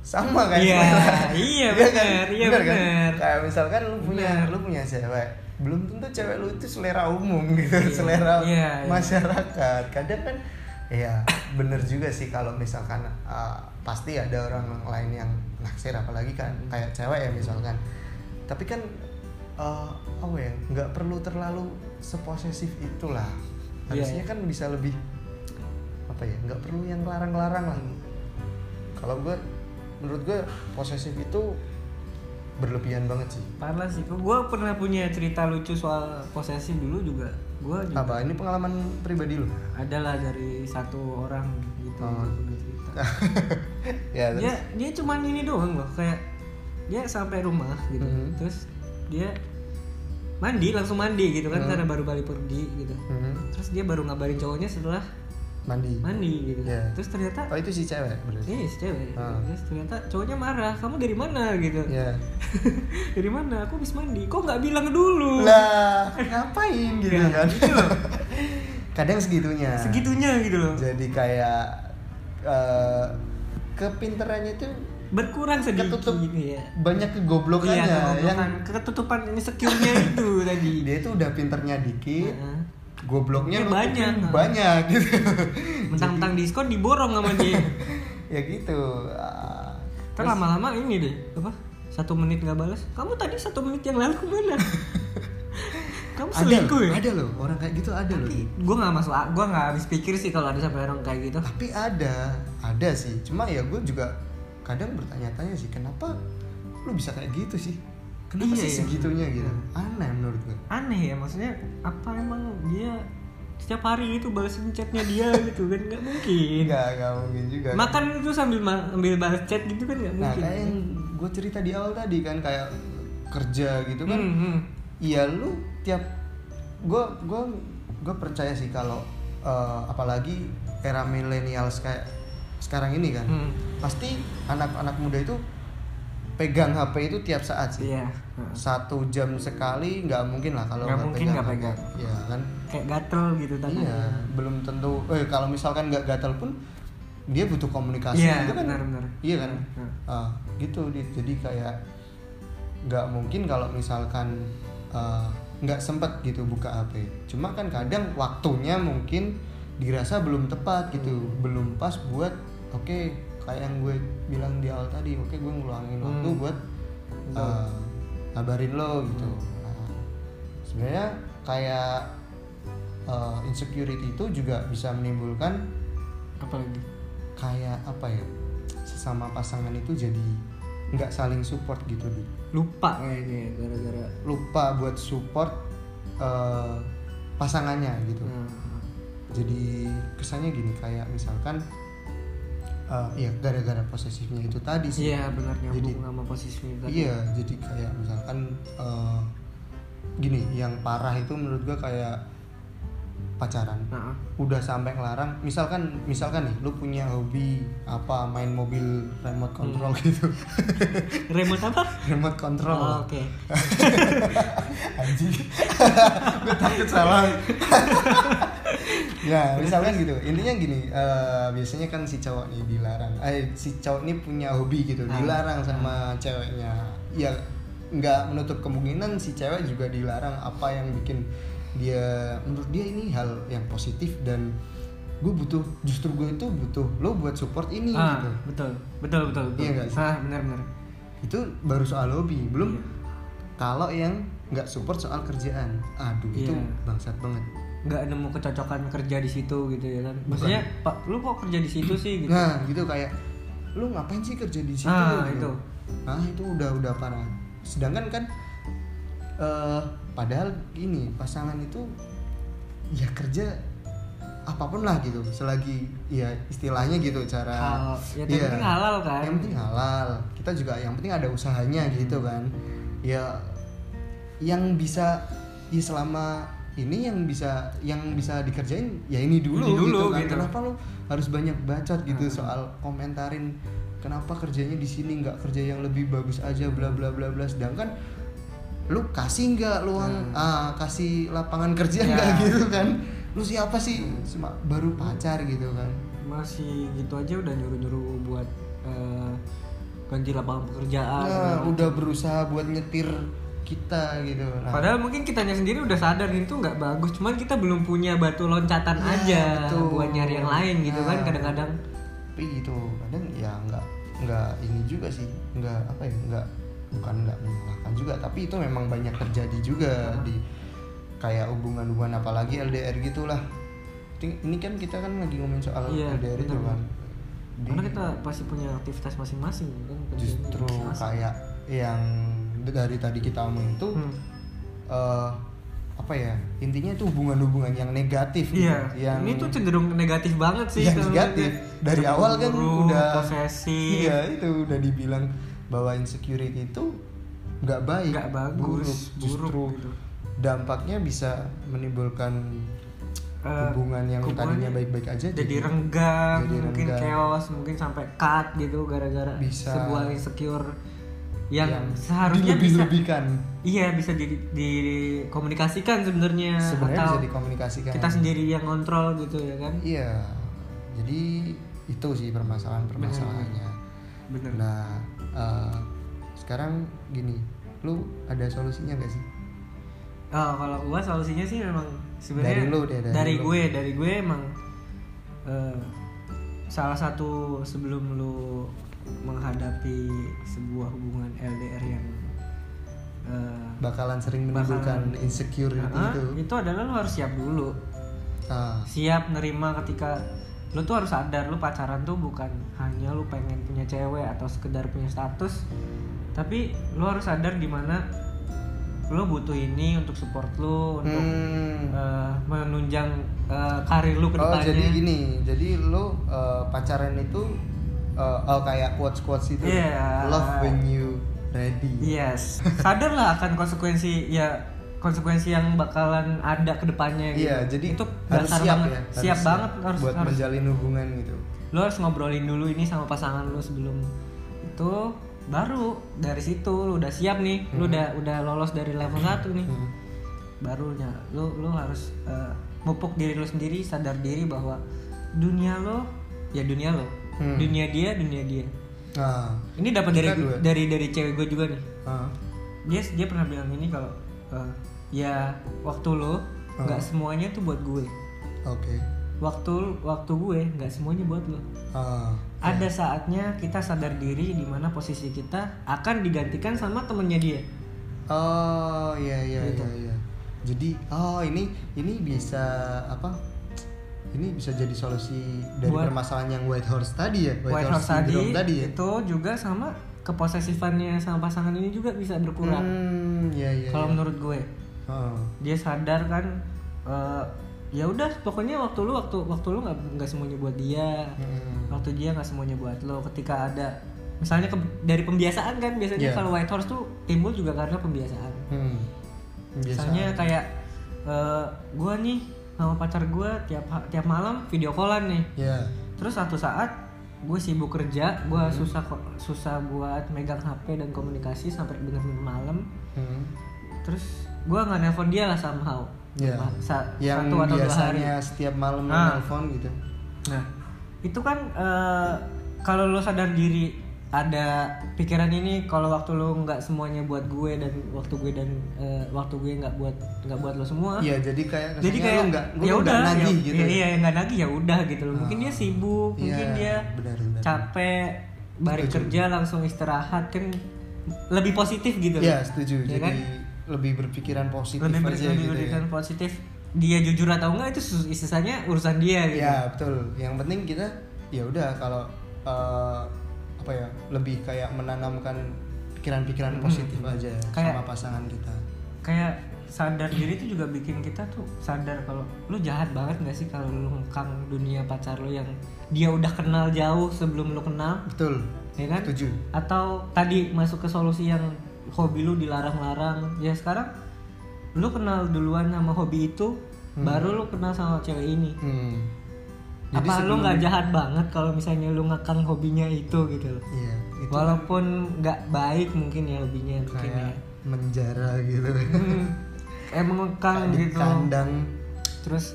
A: sama kan
B: Iya,
A: selera.
B: iya,
A: kan?
B: benar, iya,
A: kan?
B: benar.
A: kayak misalkan lu punya
B: Benar.
A: lu punya cewek belum tentu cewek lu itu selera umum gitu
B: Iya,
A: selera
B: iya, iya.
A: masyarakat kadang kan ya bener juga sih kalau misalkan uh, pasti ada orang lain yang naksir apalagi kan kayak cewek ya misalkan tapi kan uh, apa ya nggak perlu terlalu seposesif itulah
B: Iya,
A: harusnya
B: iya.
A: kan bisa lebih apa ya nggak perlu yang larang-larang lah kalau gue menurut gue posesif itu berlebihan banget sih
B: parah sih gue pernah punya cerita lucu soal posesif dulu juga gue juga
A: apa ini pengalaman pribadi lu
B: adalah dari satu orang gitu
A: Oh.
B: yang punya cerita
A: ya terus
B: dia dia cuman ini doang loh kayak dia sampai rumah gitu
A: Mhm.
B: terus dia mandi langsung mandi gitu kan
A: Mhm.
B: karena baru balik pergi gitu
A: Mhm.
B: terus dia baru ngabarin cowoknya setelah
A: mandi
B: mandi gitu
A: Mm-hmm. Iya.
B: terus ternyata
A: oh itu si cewek berarti
B: Iya, si cewek.
A: Ah.
B: Terus ternyata cowoknya marah. Kamu dari mana gitu?
A: ya
B: dari mana? Aku habis mandi. Kok nggak bilang dulu?
A: lah ngapain gitu
B: Ya,
A: kan
B: gitu loh.
A: kadang segitunya
B: Segitunya gitu loh.
A: jadi kayak eh, kepinterannya itu
B: Berkurang sedikit
A: Ketutup.
B: gitu ya.
A: banyak kegoblokannya
B: Iya,
A: yang
B: yang ketutupan ini secure-nya itu tadi.
A: dia itu udah pinternya dikit
B: Heeh.
A: gobloknya
B: Dia
A: lu-
B: Iya, banyak.
A: banyak gitu
B: Mentang-mentang diskon diborong sama dia.
A: ya gitu Ah,
B: Terus Kan lama-lama ini deh, apa? Satu menit nggak balas. Kamu tadi satu menit yang lalu kemana? Kamu
A: ada
B: selingkuh
A: loh,
B: ya?
A: ada loh orang kayak gitu ada loh Di.
B: Gue nggak masuk, gue nggak habis pikir sih kalau ada sampai orang kayak gitu.
A: Nah, tapi ada ada sih cuma ya gue juga kadang bertanya-tanya sih kenapa lu bisa kayak gitu sih kenapa
B: Iya,
A: sih
B: iya.
A: segitunya gitu aneh menurut gue
B: aneh ya maksudnya apa emang dia setiap hari itu balesin chatnya dia gitu kan nggak mungkin
A: enggak enggak Iya, mungkin juga
B: makan itu sambil ma- ambil balas chat gitu kan nggak
A: nah
B: mungkin
A: kayak yang gue cerita di awal tadi kan kayak kerja gitu kan
B: Hmm, hmm.
A: Iya lu tiap gue gua gua percaya sih kalau eh, apalagi era milenial kayak sekarang ini kan
B: Hmm.
A: pasti anak-anak muda itu pegang HP itu tiap saat sih
B: iya Heeh.
A: satu jam sekali nggak mungkin lah kalau
B: Nggak mungkin nggak
A: HP.
B: pegang.
A: Iya kan
B: kayak gatel gitu tangannya.
A: iya belum tentu eh kalau misalkan nggak gatal pun dia butuh komunikasi
B: Iya,
A: gitu kan
B: benar-benar.
A: iya kan
B: Hmm.
A: Ah, gitu Dit. jadi kayak nggak mungkin kalau misalkan eh, nggak sempet gitu buka HP cuma kan kadang waktunya mungkin dirasa belum tepat gitu
B: Hmm.
A: belum pas buat oke kayak yang gue bilang di awal tadi oke gue ngeluangin waktu
B: Hmm.
A: buat eh, ngabarin lo gitu Nah, sebenarnya kayak eh, insecurity itu juga bisa menimbulkan
B: apalagi
A: kayak apa ya sesama pasangan itu jadi nggak saling support gitu di
B: lupa kayaknya gara-gara
A: lupa buat support eh, pasangannya gitu
B: Nah,
A: jadi kesannya gini kayak misalkan eh, ya gara-gara posesifnya itu tadi sih
B: iya benar
A: Jadi-
B: nyambung sama posisinya tadi.
A: Iya, jadi kayak misalkan eh, gini, yang parah itu menurut gua kayak pacaran.
B: Nah,
A: Udah sampai ngelarang, misalkan misalkan nih lu punya hobi apa main mobil remote control gitu.
B: remote apa
A: remote control.
B: Hmm. Oh, oke
A: Anjing. Gua takut salah. ya, misalkan gitu. Intinya gini, eh, biasanya kan si cowok ini dilarang. Eh si cowok ini punya hobi gitu,
B: Ah.
A: dilarang sama ceweknya. Ya nggak menutup kemungkinan si cewek juga dilarang apa yang bikin dia menurut dia ini hal yang positif dan gue butuh justru gue itu butuh lo buat support ini
B: ah
A: gitu
B: betul betul betul betul
A: Iya nggak sih?
B: ah benar-benar
A: itu baru soal hobi belum
B: Iya.
A: kalau yang nggak support soal kerjaan aduh itu
B: Iya.
A: bangsat banget
B: nggak nemu kecocokan kerja di situ gitu ya kan maksudnya pak lu kok kerja di situ sih gitu
A: nah gitu kayak lu ngapain sih kerja di situ
B: Ah,
A: Gitu.
B: itu.
A: ah itu udah udah parah sedangkan kan eh padahal gini pasangan itu ya kerja apapun lah gitu selagi ya istilahnya gitu cara
B: Halal. Ya, yang
A: Iya.
B: penting halal kan. Hmm.
A: yang penting halal kita juga yang penting ada usahanya gitu kan ya yang bisa ya selama ini yang bisa yang bisa dikerjain ya ini dulu,
B: Ini dulu,
A: gitu kan
B: gitu.
A: kenapa lu harus banyak bacot gitu
B: Hmm.
A: soal komentarin kenapa kerjanya di sini nggak kerja yang lebih bagus aja bla bla bla bla sedangkan lu kasih nggak luang
B: Hmm.
A: ah, kasih lapangan kerja
B: Ya.
A: nggak gitu kan lu siapa sih
B: Hmm.
A: Cuma baru pacar gitu kan
B: Masih gitu aja udah nyuruh-nyuruh buat eh, ganti lapangan pekerjaan. gitu.
A: Nah,
B: segala
A: udah
B: macam.
A: berusaha buat nyetir kita gitu. Nah,
B: Padahal mungkin kitanya sendiri udah sadar itu nggak bagus, cuman kita belum punya batu loncatan
A: Ya,
B: aja
A: betul.
B: buat nyari yang lain gitu kan
A: Nah.
B: kadang-kadang.
A: tapi gitu kadang ya nggak nggak ini juga sih nggak apa ya nggak bukan nggak menyalahkan juga tapi itu memang banyak terjadi juga
B: Hmm.
A: di kayak hubungan-hubungan apalagi LDR gitulah Ting- ini kan kita kan lagi ngomongin soal
B: Iya,
A: LDR itu
B: bener.
A: kan Di-
B: Karena kita pasti punya aktivitas masing-masing kan. kerjanya
A: justru
B: masing-masing.
A: kayak yang dari tadi kita omongin itu
B: Hmm.
A: eh, apa ya intinya itu hubungan-hubungan yang negatif gitu,
B: Iya,
A: yang
B: ini tuh cenderung negatif banget sih.
A: yang
B: kalau
A: negatif
B: lihat.
A: dari
B: iya, Cemburu,
A: awal kan udah
B: posesif.
A: iya itu udah dibilang bahwa insecurity itu nggak baik
B: nggak bagus,
A: buruk, justru
B: buruk gitu.
A: dampaknya bisa menimbulkan
B: Eh,
A: hubungan yang
B: hubungannya
A: tadinya baik-baik aja
B: jadi renggang,
A: jadi
B: mungkin
A: renggang.
B: chaos, mungkin sampai cut gitu gara-gara
A: Bisa.
B: sebuah insecure yang, seharusnya bisa
A: dilebih-lebihkan
B: iya bisa di, dikomunikasikan sebenarnya
A: sebenarnya
B: Ya, atau
A: bisa dikomunikasikan
B: kita sendiri yang kontrol gitu ya kan?
A: iya jadi itu sih permasalahan permasalahannya
B: Bener.
A: nah eh, sekarang gini lu ada solusinya gak sih
B: Oh, kalau gua solusinya sih memang sebenarnya
A: Dari lu deh, dari lu.
B: gue, dari gue emang eh, salah satu sebelum lu menghadapi sebuah hubungan LDR yang eh,
A: bakalan sering menimbulkan
B: Bakalan-
A: insecurity
B: ah,
A: itu
B: itu adalah lu harus siap dulu,
A: Ah,
B: siap nerima ketika lu tuh harus sadar lu pacaran tuh bukan hanya lu pengen punya cewek atau sekedar punya status, tapi lu harus sadar dimana lu butuh ini untuk support lu untuk
A: Hmm.
B: eh, menunjang eh, karir lu ke
A: Oh
B: depannya.
A: jadi gini, jadi lo uh, pacaran itu uh, oh, kayak quotes quotes itu,
B: Iya.
A: love when you ready.
B: Yes. Sadarlah akan konsekuensi ya konsekuensi yang bakalan ada ke depannya gitu.
A: Iya, jadi
B: itu
A: harus
B: dasar
A: siap
B: banget.
A: ya, harus
B: siap banget harus
A: buat
B: harus
A: menjalin hubungan gitu.
B: lu harus ngobrolin dulu ini sama pasangan lu sebelum itu baru dari situ lu udah siap nih,
A: Hmm.
B: lu udah udah lolos dari level 1 nih.
A: Hmm.
B: barunya lu lu harus eh, mupuk diri lu sendiri sadar diri bahwa dunia lo ya dunia lo
A: Hmm.
B: dunia dia dunia dia
A: Nah,
B: ini dapat dari
A: Kita dua.
B: dari dari cewek gue juga nih
A: ah,
B: dia dia pernah bilang ini kalau eh, ya waktu lo nggak
A: Ah.
B: semuanya tuh buat gue
A: oke.
B: waktu waktu gue nggak semuanya buat lo
A: Ah,
B: ada saatnya kita sadar diri di mana posisi kita akan digantikan sama temennya dia
A: oh iya iya
B: Gitu.
A: iya iya. Jadi oh ini ini bisa apa? Ini bisa jadi solusi dari
B: Buat-
A: permasalahan yang white horse tadi ya,
B: white horse tadi,
A: syndrome tadi ya.
B: itu juga sama keposesifannya sama pasangan ini juga bisa berkurang
A: Hmm, iya iya.
B: kalau
A: iya.
B: menurut gue
A: Ah.
B: dia sadar kan eh, ya udah pokoknya waktu lu waktu waktu lu nggak nggak semuanya buat dia
A: Hmm.
B: waktu dia nggak semuanya buat lo ketika ada misalnya ke- dari pembiasaan kan biasanya
A: Iya.
B: kalau white horse tuh timbul juga karena pembiasaan
A: Hmm.
B: misalnya kayak eh, gua nih sama pacar gua tiap ha- tiap malam video callan nih
A: ya.
B: terus satu saat gue sibuk kerja gue
A: Hmm.
B: susah ko- susah buat megang hp dan komunikasi sampai bener-bener malam
A: Hmm.
B: terus gue nggak nelpon dia lah somehow
A: Ya.
B: Ma- sa-
A: Yang
B: satu atau dua hari
A: biasanya setiap malam
B: Ah.
A: nelfon gitu.
B: nah itu kan eh, kalau lo sadar diri ada pikiran ini kalau waktu lo nggak semuanya buat gue dan waktu gue dan eh, waktu gue nggak buat nggak buat lo semua
A: Iya, jadi kayak
B: jadi
A: rasanya
B: kayak
A: lu nggak lu
B: ya
A: nggak
B: udah
A: nagih
B: ya,
A: gitu. Ah.
B: ya, iya nggak nagih ya udah gitu loh mungkin dia sibuk mungkin
A: Iya,
B: dia
A: benar, benar.
B: capek balik
A: Setuju.
B: kerja langsung istirahat kan lebih positif gitu
A: Iya,
B: loh
A: setuju. jadi
B: Iya kan?
A: lebih berpikiran positif
B: lebih ber-
A: aja
B: lebih
A: gitu. Ya.
B: berikan positif dia jujur atau enggak itu sus-
A: Iya,
B: sisanya urusan dia gitu
A: ya, betul. Yang penting kita ya udah kalau eh, apa ya lebih kayak menanamkan pikiran-pikiran
B: Mm-mm.
A: positif aja
B: Hmm. Kayak-
A: sama pasangan kita
B: kayak sadar diri itu juga bikin kita tuh sadar kalau lu jahat banget gak sih kalau lu ngekang dunia pacar lu yang dia udah kenal jauh sebelum lu kenal
A: betul
B: ya kan
A: setuju
B: atau tadi masuk ke solusi yang hobi lu dilarang-larang ya sekarang lu kenal duluan sama hobi itu
A: Hmm.
B: baru lu kenal sama cewek ini
A: hmm.
B: apa lu
A: sebelum-
B: nggak jahat banget kalau misalnya lu ngekang hobinya itu gitu loh
A: iya itu
B: walaupun nggak baik mungkin ya hobinya mungkin ya
A: kayak menjara gitu
B: Hmm. emang ngekang
A: Kayak di
B: gitu
A: kandang
B: terus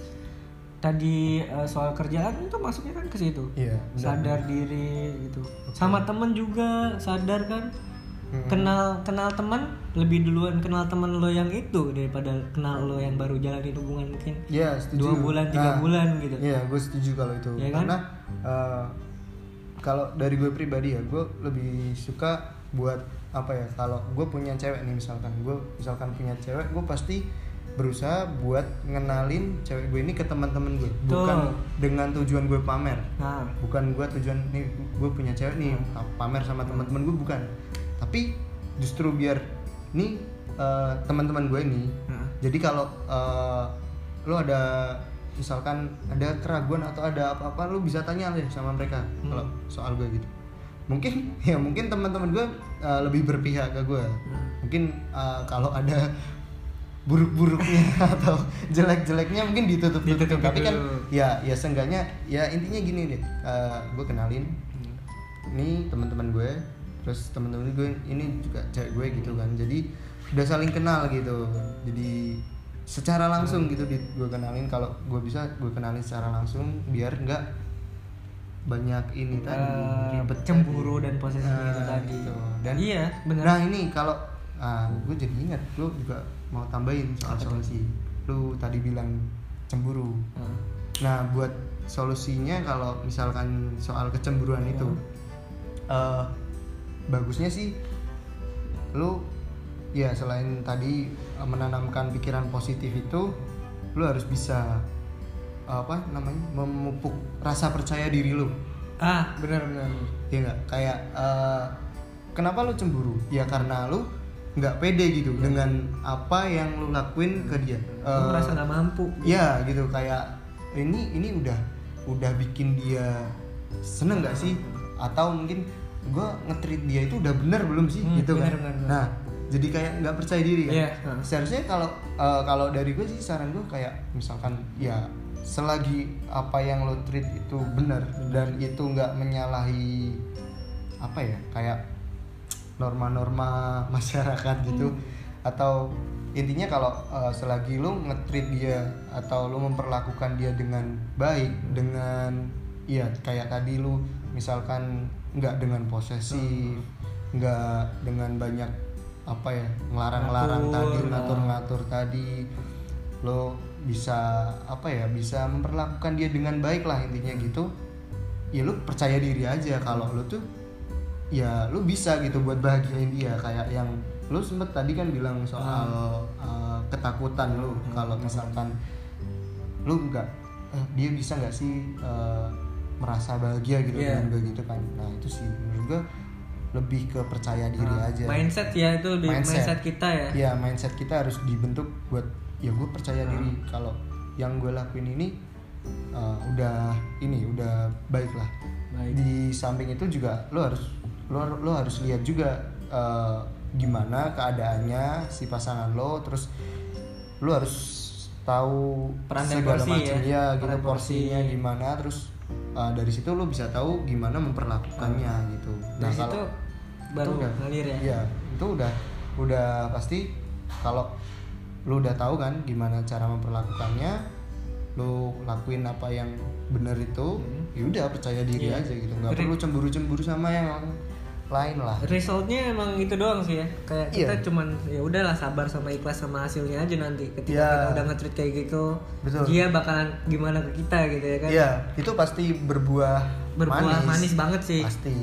B: tadi eh, soal kerjaan itu masuknya kan ke situ
A: iya benar.
B: sadar diri gitu sama temen juga sadar kan
A: Mm-mm.
B: kenal kenal teman lebih duluan kenal teman lo yang itu daripada kenal lo yang baru jalanin hubungan mungkin
A: Iya setuju.
B: dua bulan tiga
A: Nah,
B: bulan gitu
A: Iya, gue setuju kalau itu.
B: Iya kan?
A: Karena eh, kalau dari gue pribadi ya, gue lebih suka buat apa ya? Kalau gue punya cewek nih misalkan, gue misalkan punya cewek, gue pasti berusaha buat ngenalin cewek gue ini ke teman-teman gue, bukan
B: Tuh.
A: dengan tujuan gue pamer,
B: nah
A: bukan gue tujuan nih gue punya cewek
B: Hmm.
A: nih pamer sama teman-teman gue bukan, tapi justru biar nih eh, teman-teman gue ini
B: nah.
A: jadi kalau eh, lo ada misalkan ada keraguan atau ada apa-apa lo bisa tanya deh sama mereka
B: Hmm.
A: kalau soal gue gitu. Mungkin ya mungkin teman-teman gue eh, lebih berpihak ke gue.
B: Hmm.
A: Mungkin eh, kalau ada buruk-buruknya atau jelek-jeleknya mungkin ditutup
B: Ditutup
A: tutupin tapi kan
B: dulu.
A: ya ya seenggaknya ya intinya gini deh eh, gue kenalin
B: Hmm.
A: ini teman-teman gue terus teman-teman gue ini juga cewek gue gitu kan jadi udah saling kenal gitu jadi secara langsung gitu di, gue kenalin kalau gue bisa gue kenalin secara langsung biar nggak banyak ini tadi
B: Eh,
A: ribet
B: cemburu
A: tadi.
B: dan posesif
A: Nah,
B: itu tadi
A: gitu. dan
B: iya benar
A: nah ini kalau ah, gue jadi ingat lu juga mau tambahin soal solusi lu tadi bilang cemburu
B: Nah.
A: Nah, buat solusinya kalau misalkan soal kecemburuan
B: Ya.
A: itu, eh, bagusnya sih lu ya selain tadi eh, menanamkan pikiran positif itu, lu harus bisa apa namanya memupuk rasa percaya diri lu,
B: ah benar benar
A: ya nggak? Kayak eh, kenapa lu cemburu? Ya karena lu nggak pede gitu dengan apa yang lu lakuin ke dia.
B: Iya. Lu
A: Eh,
B: merasa nggak mampu
A: ya gitu kayak ini ini udah udah bikin dia seneng nggak sih atau mungkin gue ngetrit dia itu udah bener belum sih
B: Hmm,
A: gitu kan
B: bener, bener, bener.
A: nah jadi kayak nggak percaya diri kan
B: Iya, heeh.
A: seharusnya kalau eh, kalau dari gue sih saran gue kayak misalkan ya selagi apa yang lo treat itu benar dan itu nggak menyalahi apa ya kayak norma-norma masyarakat gitu atau intinya kalau eh, selagi lo ngetreat dia atau lo memperlakukan dia dengan baik dengan ya kayak tadi lo misalkan nggak dengan posesif nggak dengan banyak apa ya ngelarang-larang tadi
B: Ngatur, nah.
A: ngatur-ngatur tadi lo bisa apa ya bisa memperlakukan dia dengan baik lah
B: Hmm.
A: intinya gitu ya lu percaya diri aja kalau lu tuh ya lu bisa gitu buat bahagiain dia kayak yang lu sempet tadi kan bilang soal
B: Hmm.
A: uh, ketakutan lu kalau misalkan lu nggak eh, dia bisa nggak sih uh, merasa bahagia gitu
B: Iya.
A: dengan gue gitu kan nah itu sih menurut gue lebih ke percaya diri
B: Nah,
A: aja
B: mindset ya itu lebih
A: Mindset.
B: mindset, kita ya
A: ya mindset kita harus dibentuk buat ya gue percaya
B: Hmm.
A: diri kalau yang gue lakuin ini uh, udah ini udah baik lah
B: baik
A: di samping itu juga lo harus lo, lo harus lihat juga eh, gimana keadaannya si pasangan lo terus lo harus tahu
B: Peran dan
A: segala
B: porsi
A: macam
B: ya.
A: ya, gitu
B: Peran porsi.
A: porsinya gimana terus eh, dari situ lo bisa tahu gimana memperlakukannya gitu
B: Hmm. dari situ baru
A: udah-
B: ngalir ya
A: Iya, itu udah udah pasti kalau lu udah tahu kan gimana cara memperlakukannya, lu lakuin apa yang bener itu, ya udah percaya diri
B: Hmm. Iya.
A: aja gitu. nggak
B: Jadi-
A: perlu cemburu-cemburu sama yang lain lah.
B: resultnya emang itu doang sih ya kayak
A: Iya.
B: kita cuman ya udahlah sabar sama ikhlas sama hasilnya aja nanti ketika
A: Iya.
B: kita udah nge-treat kayak gitu
A: Betul.
B: dia bakalan gimana ke kita gitu ya kan
A: Iya, itu pasti berbuah
B: berbuah manis. banget sih
A: Pasti.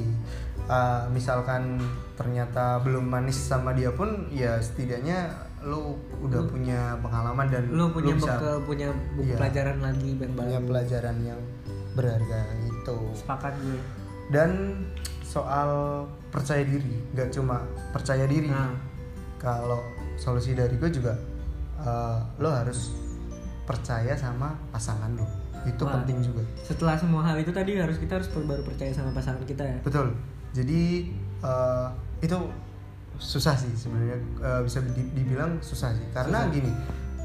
A: Uh, misalkan ternyata belum manis sama dia pun ya setidaknya lu udah punya pengalaman dan
B: lu punya
A: bisa
B: bekal punya buku
A: Iya.
B: pelajaran lagi dan
A: punya
B: baru
A: pelajaran yang berharga itu.
B: sepakat gue
A: gitu. dan soal percaya diri nggak cuma percaya diri
B: Nah.
A: kalau solusi dari gue juga eh, lo harus percaya sama pasangan lo itu
B: Wah.
A: penting juga
B: Setelah semua hal itu tadi harus kita harus baru percaya sama pasangan kita ya.
A: betul jadi eh, itu susah sih sebenarnya Eh, bisa di- dibilang susah sih karena
B: Susah.
A: gini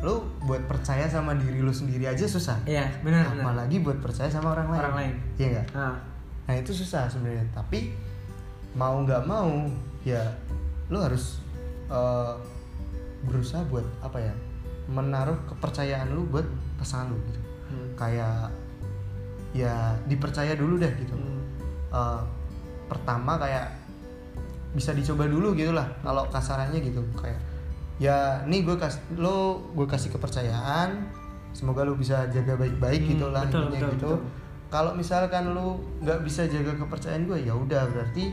A: lo buat percaya sama diri lo sendiri aja susah
B: Iya, benar benar.
A: apalagi buat percaya sama orang lain
B: Orang lain.
A: iya nggak?
B: Nah,
A: Nah itu susah sebenarnya. Tapi mau nggak mau ya lo harus eh, berusaha buat apa ya menaruh kepercayaan lu buat pasangan lu gitu.
B: Hmm.
A: Kayak ya dipercaya dulu deh gitu.
B: Hmm.
A: Eh, pertama kayak bisa dicoba dulu gitulah kalau kasarannya gitu kayak ya nih gue kas lo gue kasih kepercayaan semoga lo bisa jaga baik-baik
B: Hmm,
A: gitulah
B: betul,
A: intinya
B: betul,
A: gitu
B: betul.
A: kalau misalkan lo nggak bisa jaga kepercayaan gue ya udah berarti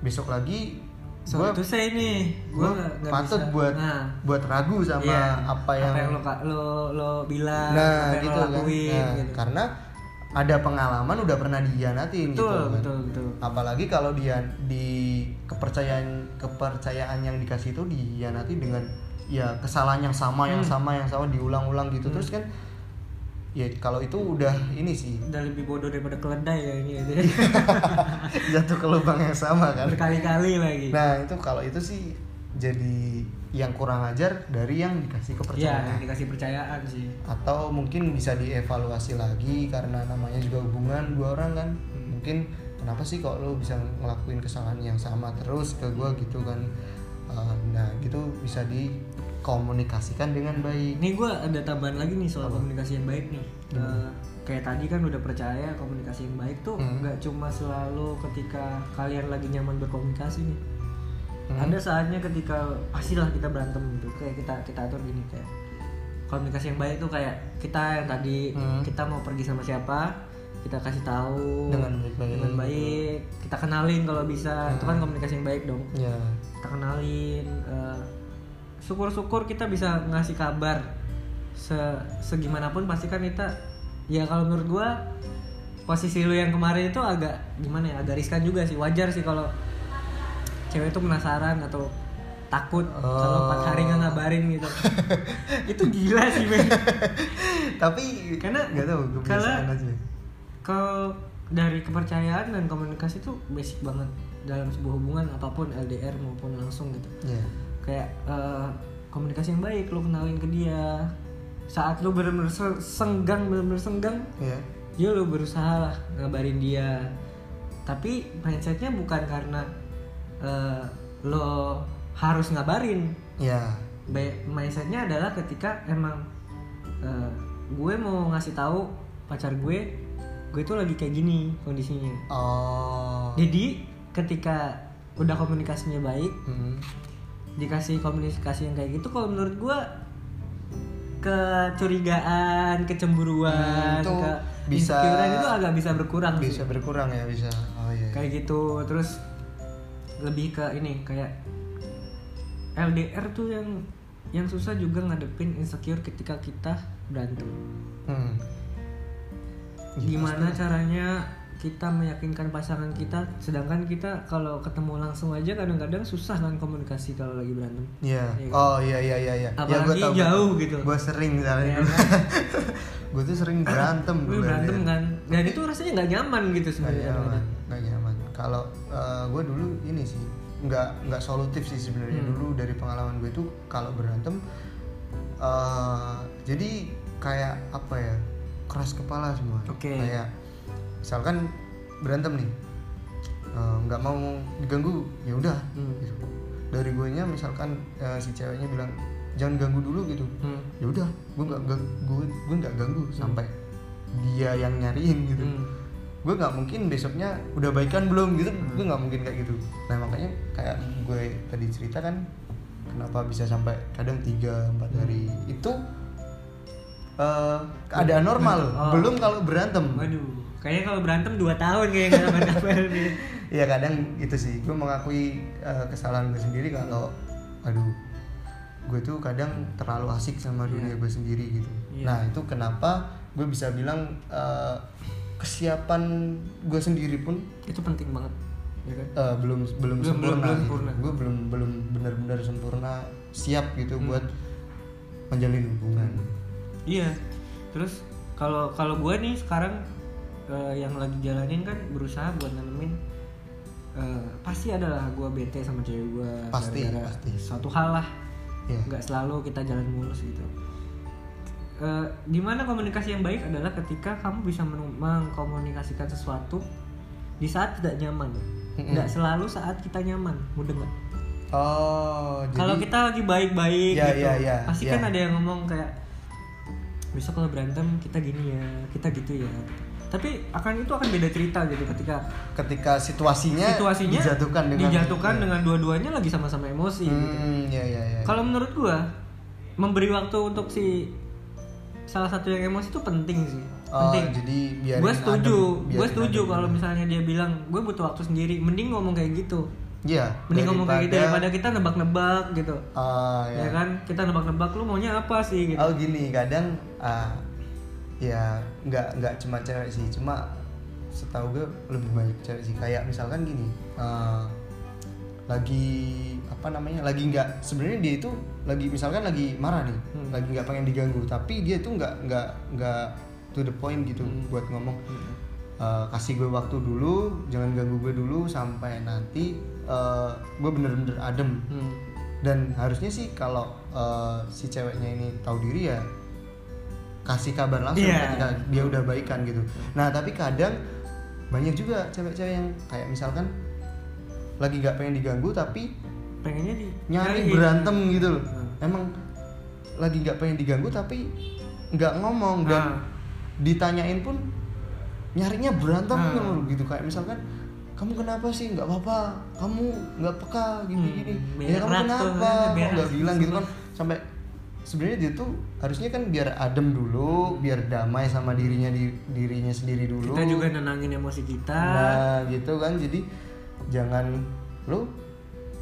A: besok lagi
B: so
A: gue
B: itu saya nih, gue
A: gue patut buat
B: Nah,
A: buat ragu sama
B: iya.
A: apa yang,
B: lo, ka- lo lo bilang,
A: nah
B: apa yang
A: gitu
B: lo
A: kan
B: lakuin,
A: Nah,
B: gitu.
A: karena ada pengalaman udah pernah dihianatin gitu
B: betul,
A: kan
B: betul, betul.
A: apalagi kalau dia di kepercayaan kepercayaan yang dikasih itu dihianati dengan ya kesalahan yang sama yang
B: Hmm.
A: sama yang sama diulang-ulang gitu
B: Hmm.
A: terus kan ya kalau itu udah ini sih
B: Udah lebih bodoh daripada keledai kayaknya gitu.
A: jatuh ke lubang yang sama kan
B: Berkali-kali lagi.
A: nah itu kalau itu sih jadi yang kurang ajar dari yang dikasih
B: Iya,
A: kepercayaan
B: dikasih percayaan sih.
A: atau mungkin bisa dievaluasi lagi karena namanya juga hubungan dua orang kan
B: Hmm.
A: mungkin kenapa sih kok lo bisa ngelakuin kesalahan yang sama terus ke gua gitu kan Eh, nah gitu bisa dikomunikasikan dengan baik
B: Ini gue ada tambahan lagi nih soal
A: Apa?
B: komunikasi yang baik nih.
A: Hmm.
B: Eh, kayak tadi kan udah percaya komunikasi yang baik tuh
A: Hmm.
B: nggak cuma selalu ketika kalian lagi nyaman berkomunikasi nih.
A: Hmm.
B: Ada saatnya ketika pastilah kita berantem gitu. Kayak kita kita atur gini kayak komunikasi yang baik tuh kayak kita yang tadi
A: Hmm.
B: kita mau pergi sama siapa kita kasih tahu
A: Dengan baik-baik. Hmm.
B: dengan baik. kita kenalin kalau bisa itu kan komunikasi yang baik dong
A: ya
B: kita kenalin eh, syukur-syukur kita bisa ngasih kabar se segimanapun pasti kan kita ya kalau menurut gua posisi lu yang kemarin itu agak gimana ya agak riskan juga sih wajar sih kalau cewek itu penasaran atau takut kalau empat hari nggak ngabarin gitu itu gila sih men
A: tapi
B: Karena-
A: nggak tahu kebiasaan
B: karena-
A: aja
B: kalau dari kepercayaan dan komunikasi itu basic banget dalam sebuah hubungan apapun LDR maupun langsung gitu
A: ya
B: kayak eh, komunikasi yang baik lu kenalin ke dia saat lu bener-bener se- senggang bener-bener senggang
A: ya
B: ya lu berusaha lah ngabarin dia tapi mindsetnya bukan karena eh, lo harus ngabarin
A: ya
B: Ba- mindsetnya adalah ketika emang eh, gue mau ngasih tahu pacar gue gue tuh lagi kayak gini kondisinya
A: oh
B: jadi ketika udah komunikasinya baik
A: Hmm.
B: dikasih komunikasi yang kayak gitu kalau menurut gua kecurigaan,
A: Hmm,
B: kecemburuan,
A: itu
B: ke
A: bisa-
B: insecurean itu agak bisa berkurang
A: bisa
B: sih.
A: berkurang ya bisa oh iya
B: Kayak gitu. Terus lebih ke ini kayak LDR tuh yang yang susah juga ngadepin insecure ketika kita berantem.
A: Hmm. Iya,
B: Gimana caranya kita meyakinkan pasangan kita sedangkan kita kalau ketemu langsung aja kadang-kadang susah kan komunikasi kalau lagi berantem.
A: Iya.
B: Iya.
A: Oh iya iya iya iya. Ya,
B: Apalagi jauh gitu.
A: Gue sering misalnya
B: Ya
A: dulu.
B: kan?
A: gue tuh sering berantem
B: Lu
A: dulu
B: berantem
A: LDR.
B: kan dan itu rasanya nggak nyaman gitu
A: Nggak
B: sebenarnya
A: nyaman, nggak nyaman. Kalau gue dulu ini sih nggak nggak solutif sih sebenarnya
B: Hmm.
A: dulu dari pengalaman gue tuh kalau berantem eh, jadi kayak apa ya keras kepala semua.
B: Oke.
A: Kayak misalkan berantem nih eh, nggak mau diganggu ya udah
B: Hmm.
A: gitu. dari gue nya misalkan eh, si ceweknya bilang jangan ganggu dulu gitu
B: Hmm.
A: ya udah gue nggak gang- gue gue nggak ganggu sampai dia yang nyariin gitu
B: Hmm.
A: gue nggak mungkin besoknya udah baikan belum gitu
B: Hmm.
A: gue nggak mungkin kayak gitu nah makanya kayak gue tadi cerita kan kenapa bisa sampai kadang tiga empat
B: Hmm.
A: hari itu eh keadaan normal
B: Oh.
A: belum kalau berantem
B: Waduh, kayaknya kalau berantem 2 tahun kayak nggak kabar kabar nih.
A: Iya kadang gitu sih, gue mengakui eh, kesalahan gue sendiri kalau, aduh, gue tuh kadang terlalu asik sama dunia gue sendiri gitu.
B: Iya.
A: Nah itu kenapa gue bisa bilang eh, kesiapan gue sendiri pun
B: Itu penting banget. ya kan
A: Eh, belum belum
B: Belum-
A: sempurna,
B: belum- belum
A: gitu.
B: sempurna.
A: gue belum belum benar-benar sempurna siap gitu
B: Hmm.
A: buat menjalin hubungan
B: Iya. Terus kalau kalau gue nih sekarang eh, yang lagi jalanin kan berusaha buat nanemin eh, pasti adalah gue bete sama cewek gue
A: Pasti, pasti.
B: Suatu hal lah.
A: Iya.
B: Nggak selalu kita jalan mulus gitu. Eh, gimana komunikasi yang baik adalah ketika kamu bisa men- mengkomunikasikan sesuatu di saat tidak nyaman.
A: Mm-mm.
B: Nggak selalu saat kita nyaman, mudeng nggak?
A: oh jadi
B: kalau kita lagi baik-baik
A: Ya,
B: gitu
A: ya, ya,
B: pasti
A: ya.
B: kan ada yang ngomong kayak besok kalau berantem kita gini ya kita gitu ya tapi akan itu akan beda cerita gitu ketika
A: ketika situasinya
B: situasinya
A: Eh, dijatuhkan dengan iya.
B: dijatuhkan dengan dua-duanya lagi sama-sama emosi gitu.
A: hmm ya ya ya
B: kalau menurut gua memberi waktu untuk si salah satu yang emosi itu penting sih
A: Oh,
B: penting
A: jadi biarin
B: gue setuju
A: adem,
B: gue
A: biarin
B: setuju
A: adem. ya.
B: kalau misalnya dia bilang gue butuh waktu sendiri mending ngomong kayak gitu
A: Iya,
B: mending ngomong kayak gitu
A: daripada-
B: daripada kita nebak-nebak gitu
A: Ah, ya.
B: ya kan kita nebak-nebak lu maunya apa sih gitu
A: Oh gini, kadang ah, ya nggak nggak cuma cewek sih, cuma setahu gue lebih banyak cewek sih. Kayak misalkan gini, ah, lagi apa namanya, lagi nggak sebenarnya dia itu lagi misalkan lagi marah nih,
B: Hmm.
A: lagi nggak pengen diganggu, tapi dia itu nggak nggak nggak to the point gitu
B: Hmm.
A: buat ngomong. Eh, kasih gue waktu dulu, jangan ganggu gue dulu sampai nanti eh, gue bener-bener adem.
B: Hmm.
A: Dan harusnya sih kalau eh, si ceweknya ini tahu diri ya kasih kabar langsung
B: Iya.
A: ketika dia udah baikan gitu. Nah tapi kadang banyak juga cewek-cewek yang kayak misalkan lagi nggak pengen diganggu tapi
B: pengennya di
A: nyari
B: nyariin.
A: berantem gitu loh.
B: Hmm.
A: Emang lagi nggak pengen diganggu tapi nggak ngomong dan
B: Ah.
A: ditanyain pun nyarinya berantem
B: Ah.
A: mulu gitu kayak misalkan kamu kenapa sih nggak apa-apa kamu nggak peka gini gini
B: Hmm,
A: ya kamu
B: berak tuh,
A: kenapa
B: ah,
A: kok
B: berak
A: nggak bilang gitu kan
B: semua.
A: sampai sebenarnya dia tuh harusnya kan biar adem dulu biar damai sama dirinya di, dirinya sendiri dulu
B: kita juga nenangin emosi kita
A: Nah gitu kan jadi jangan lu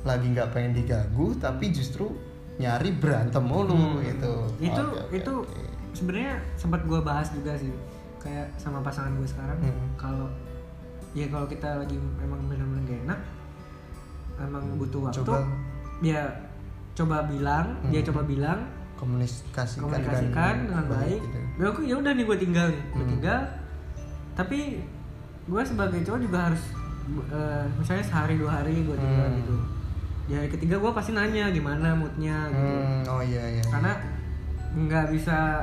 A: lagi nggak pengen diganggu tapi justru nyari berantem mulu
B: Hmm.
A: gitu.
B: itu
A: Oke, oke,
B: itu
A: oke.
B: sebenarnya sempat gue bahas juga sih kayak sama pasangan gue sekarang
A: Hmm.
B: kalau ya kalau kita lagi memang benar-benar gak enak emang butuh waktu
A: Hmm. Coba.
B: dia coba bilang dia
A: Hmm.
B: coba bilang
A: komunikasikan,
B: komunikasikan dengan baik.
A: gitu.
B: Ya oke, ya udah nih gue tinggal nih, gue
A: Hmm.
B: tinggal. Tapi gue sebagai cowok juga harus eh, misalnya sehari dua hari gue tinggal
A: Hmm.
B: gitu. Di hari ketiga gue pasti nanya gimana moodnya gitu.
A: Hmm, oh iya iya.
B: Karena nggak bisa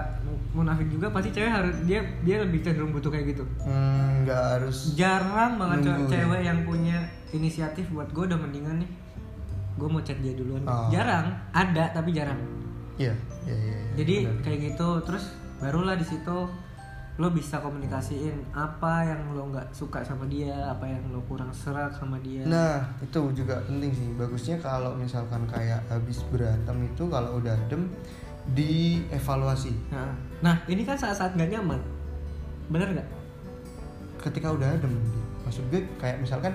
B: munafik juga pasti cewek harus dia dia lebih cenderung butuh kayak gitu.
A: Hmm, nggak harus
B: Jarang banget
A: Nunggu,
B: cewek,
A: ya.
B: cewek yang punya inisiatif buat gue udah mendingan nih. Gue mau chat dia duluan.
A: Oh.
B: Jarang, ada tapi jarang.
A: iya iya iya. iya,
B: jadi
A: benar.
B: kayak gitu terus barulah di situ lo bisa komunikasiin apa yang lo nggak suka sama dia apa yang lo kurang serak sama dia
A: Nah, itu juga penting sih. Bagusnya kalau misalkan kayak habis berantem itu kalau udah adem dievaluasi.
B: nah, nah, ini kan saat-saat nggak nyaman bener nggak
A: ketika udah adem gitu. maksud gue kayak misalkan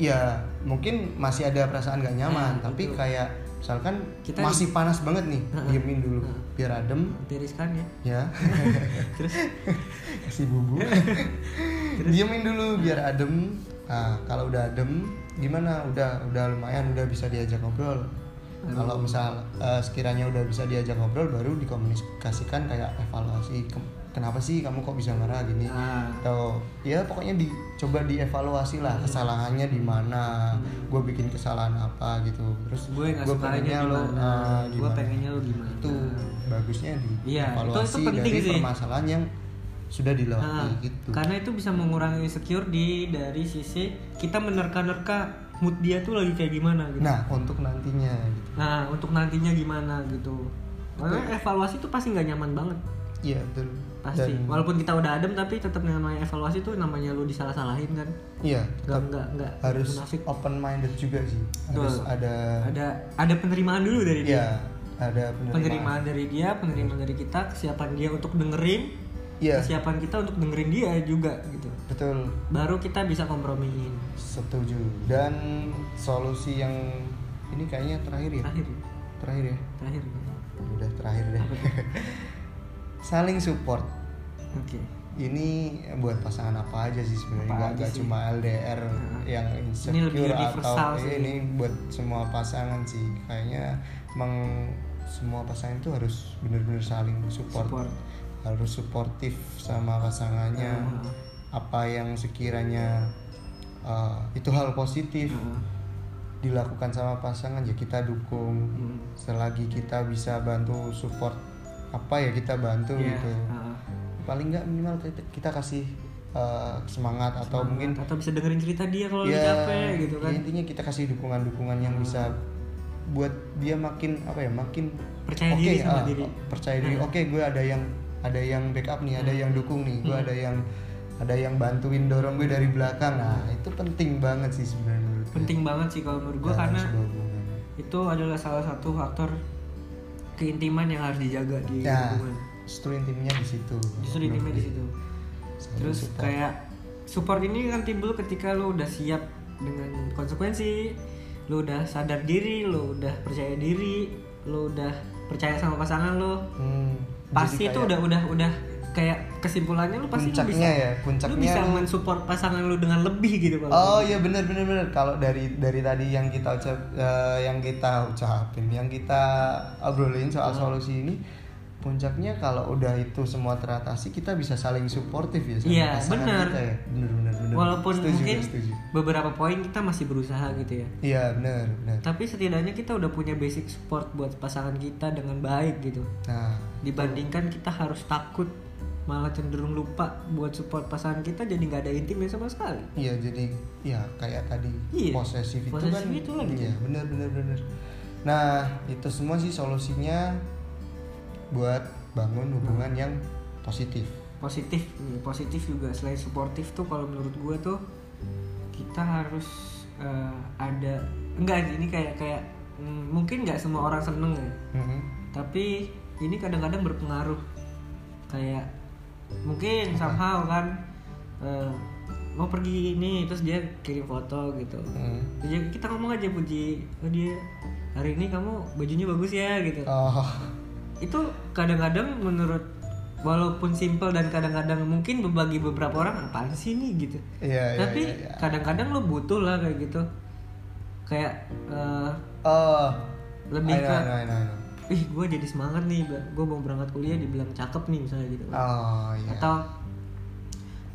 A: ya mungkin masih ada perasaan gak nyaman
B: Nah,
A: tapi
B: betul.
A: kayak misalkan
B: Kita-
A: masih panas banget nih
B: Heeh.
A: diemin dulu
B: Heeh.
A: biar adem
B: tiriskan ya
A: ya
B: terus
A: kasih bubu diemin dulu biar adem nah kalau udah adem gimana udah udah lumayan udah bisa diajak ngobrol
B: Baru-
A: kalau misal eh, sekiranya udah bisa diajak ngobrol baru dikomunikasikan kayak evaluasi Ke- kenapa sih kamu kok bisa marah gini
B: nah,
A: atau ya pokoknya dicoba dievaluasi lah kesalahannya di mana
B: Hmm.
A: gue bikin kesalahan apa gitu terus
B: gue nggak
A: gua
B: sukanya gimana
A: eh,
B: gue
A: gimana.
B: pengennya lo gimana
A: itu bagusnya di
B: Iya, itu- itu
A: evaluasi
B: penting
A: dari
B: sih.
A: permasalahan yang sudah dilewati
B: Nah,
A: gitu
B: karena itu bisa mengurangi insecure di dari sisi kita menerka-nerka mood dia tuh lagi kayak gimana gitu
A: nah untuk nantinya gitu
B: Nah, untuk nantinya gimana gitu. Karena evaluasi itu pasti nggak nyaman banget,
A: iya betul
B: pasti.
A: Dan-
B: Walaupun kita udah adem tapi tetap namanya evaluasi itu namanya lu disalah-salahin kan.
A: iya
B: Gak
A: tetap
B: nggak nggak
A: harus
B: munafik.
A: open minded juga sih harus
B: Betul.
A: ada
B: Ada ada penerimaan dulu dari dia.
A: iya ada penerimaan,
B: Penerimaan dari dia, penerimaan dari kita, kesiapan dia untuk dengerin,
A: iya
B: kesiapan kita untuk dengerin dia juga gitu.
A: betul
B: Baru kita bisa kompromiin.
A: Setuju. Dan solusi yang ini kayaknya terakhir ya.
B: Terakhir,
A: Terakhir ya.
B: terakhir.
A: Udah terakhir deh. Saling support.
B: Oke.
A: ini buat pasangan apa aja sih sebenarnya
B: Apa
A: nggak
B: aja
A: nggak
B: sih?
A: cuma LDR
B: Nah.
A: yang insecure
B: lebih
A: atau
B: universal
A: eh,
B: sih.
A: ini buat semua pasangan sih kayaknya emang semua pasangan itu harus bener-bener saling support,
B: Support.
A: harus suportif sama pasangannya
B: Nah.
A: apa yang sekiranya eh, itu hal positif
B: Heeh.
A: dilakukan sama pasangan ya kita dukung
B: Mm.
A: selagi kita bisa bantu support apa ya kita bantu
B: Iya,
A: gitu
B: heeh.
A: paling nggak minimal kita, kita kasih eh, semangat atau mungkin
B: atau bisa dengerin cerita dia kalau lagi
A: ya
B: capek gitu kan
A: intinya kita kasih dukungan-dukungan yang
B: Hmm.
A: bisa buat dia makin apa ya makin oke,
B: Percaya diri
A: ah,
B: sama diri."
A: percaya diri
B: Hmm.
A: oke gue ada yang ada yang backup nih ada
B: Hmm.
A: yang dukung nih gue
B: Hmm.
A: ada yang ada yang bantuin dorong gue dari belakang nah itu penting banget sih sebenarnya menurut gue.
B: penting banget sih kalau menurut gue
A: Dalam
B: karena
A: sebuah hubungan.
B: itu adalah salah satu faktor keintiman yang harus dijaga di
A: ya
B: hubungan
A: justru intimnya di situ
B: Iya. justru intimnya di situ
A: Saling
B: terus
A: support.
B: kayak support ini kan timbul ketika lo udah siap dengan konsekuensi lo udah sadar diri lo udah percaya diri lo udah percaya sama pasangan lo
A: Hmm, jadi
B: pasti itu
A: kayak-
B: udah udah udah kayak kesimpulannya lo pasti lo
A: Puncaknya
B: bisa
A: ya, puncaknya
B: lo bisa
A: lu-
B: mensupport pasangan lo dengan lebih gitu
A: Oh
B: kalau
A: iya bener bener bener kalau dari dari tadi yang kita ucap eh, yang kita ucapin yang kita obrolin soal solusi ini puncaknya kalau udah itu semua teratasi kita bisa saling suportif ya sama
B: Iya,
A: pasangan
B: bener.
A: kita ya bener bener bener
B: walaupun
A: setuju,
B: mungkin
A: gue setuju.
B: beberapa poin kita masih berusaha gitu ya
A: iya bener bener
B: tapi setidaknya kita udah punya basic support buat pasangan kita dengan baik gitu
A: nah
B: dibandingkan kita harus takut malah cenderung lupa buat support pasangan kita jadi nggak ada intimnya sama sekali
A: iya jadi ya kayak tadi
B: Iya,
A: posesif itu
B: posesif
A: kan
B: itu lagi.
A: iya bener bener bener nah itu semua sih solusinya buat bangun hubungan yang positif
B: positif nih, positif juga selain suportif tuh kalau menurut gue tuh kita harus eh, ada enggak ini kayak kayak mm, mungkin nggak semua orang seneng ya
A: Mhm.
B: tapi ini kadang-kadang berpengaruh kayak mungkin somehow kan eh, mau pergi ini terus dia kirim foto gitu
A: Mhm.
B: Terus dia- kita ngomong aja puji oh dia hari ini kamu bajunya bagus ya gitu
A: Oh,
B: itu kadang-kadang menurut walaupun simple dan kadang-kadang mungkin bagi beberapa orang apaan sih nih gitu
A: iya, iya,
B: tapi
A: iya, iya.
B: kadang-kadang lo butuh lah kayak gitu kayak eh,
A: Oh,
B: Lebih
A: I know,
B: ke-
A: I know, I know, I know.
B: ih gue jadi semangat nih gue mau berangkat kuliah dibilang cakep nih misalnya gitu kan.
A: Oh, iya.
B: atau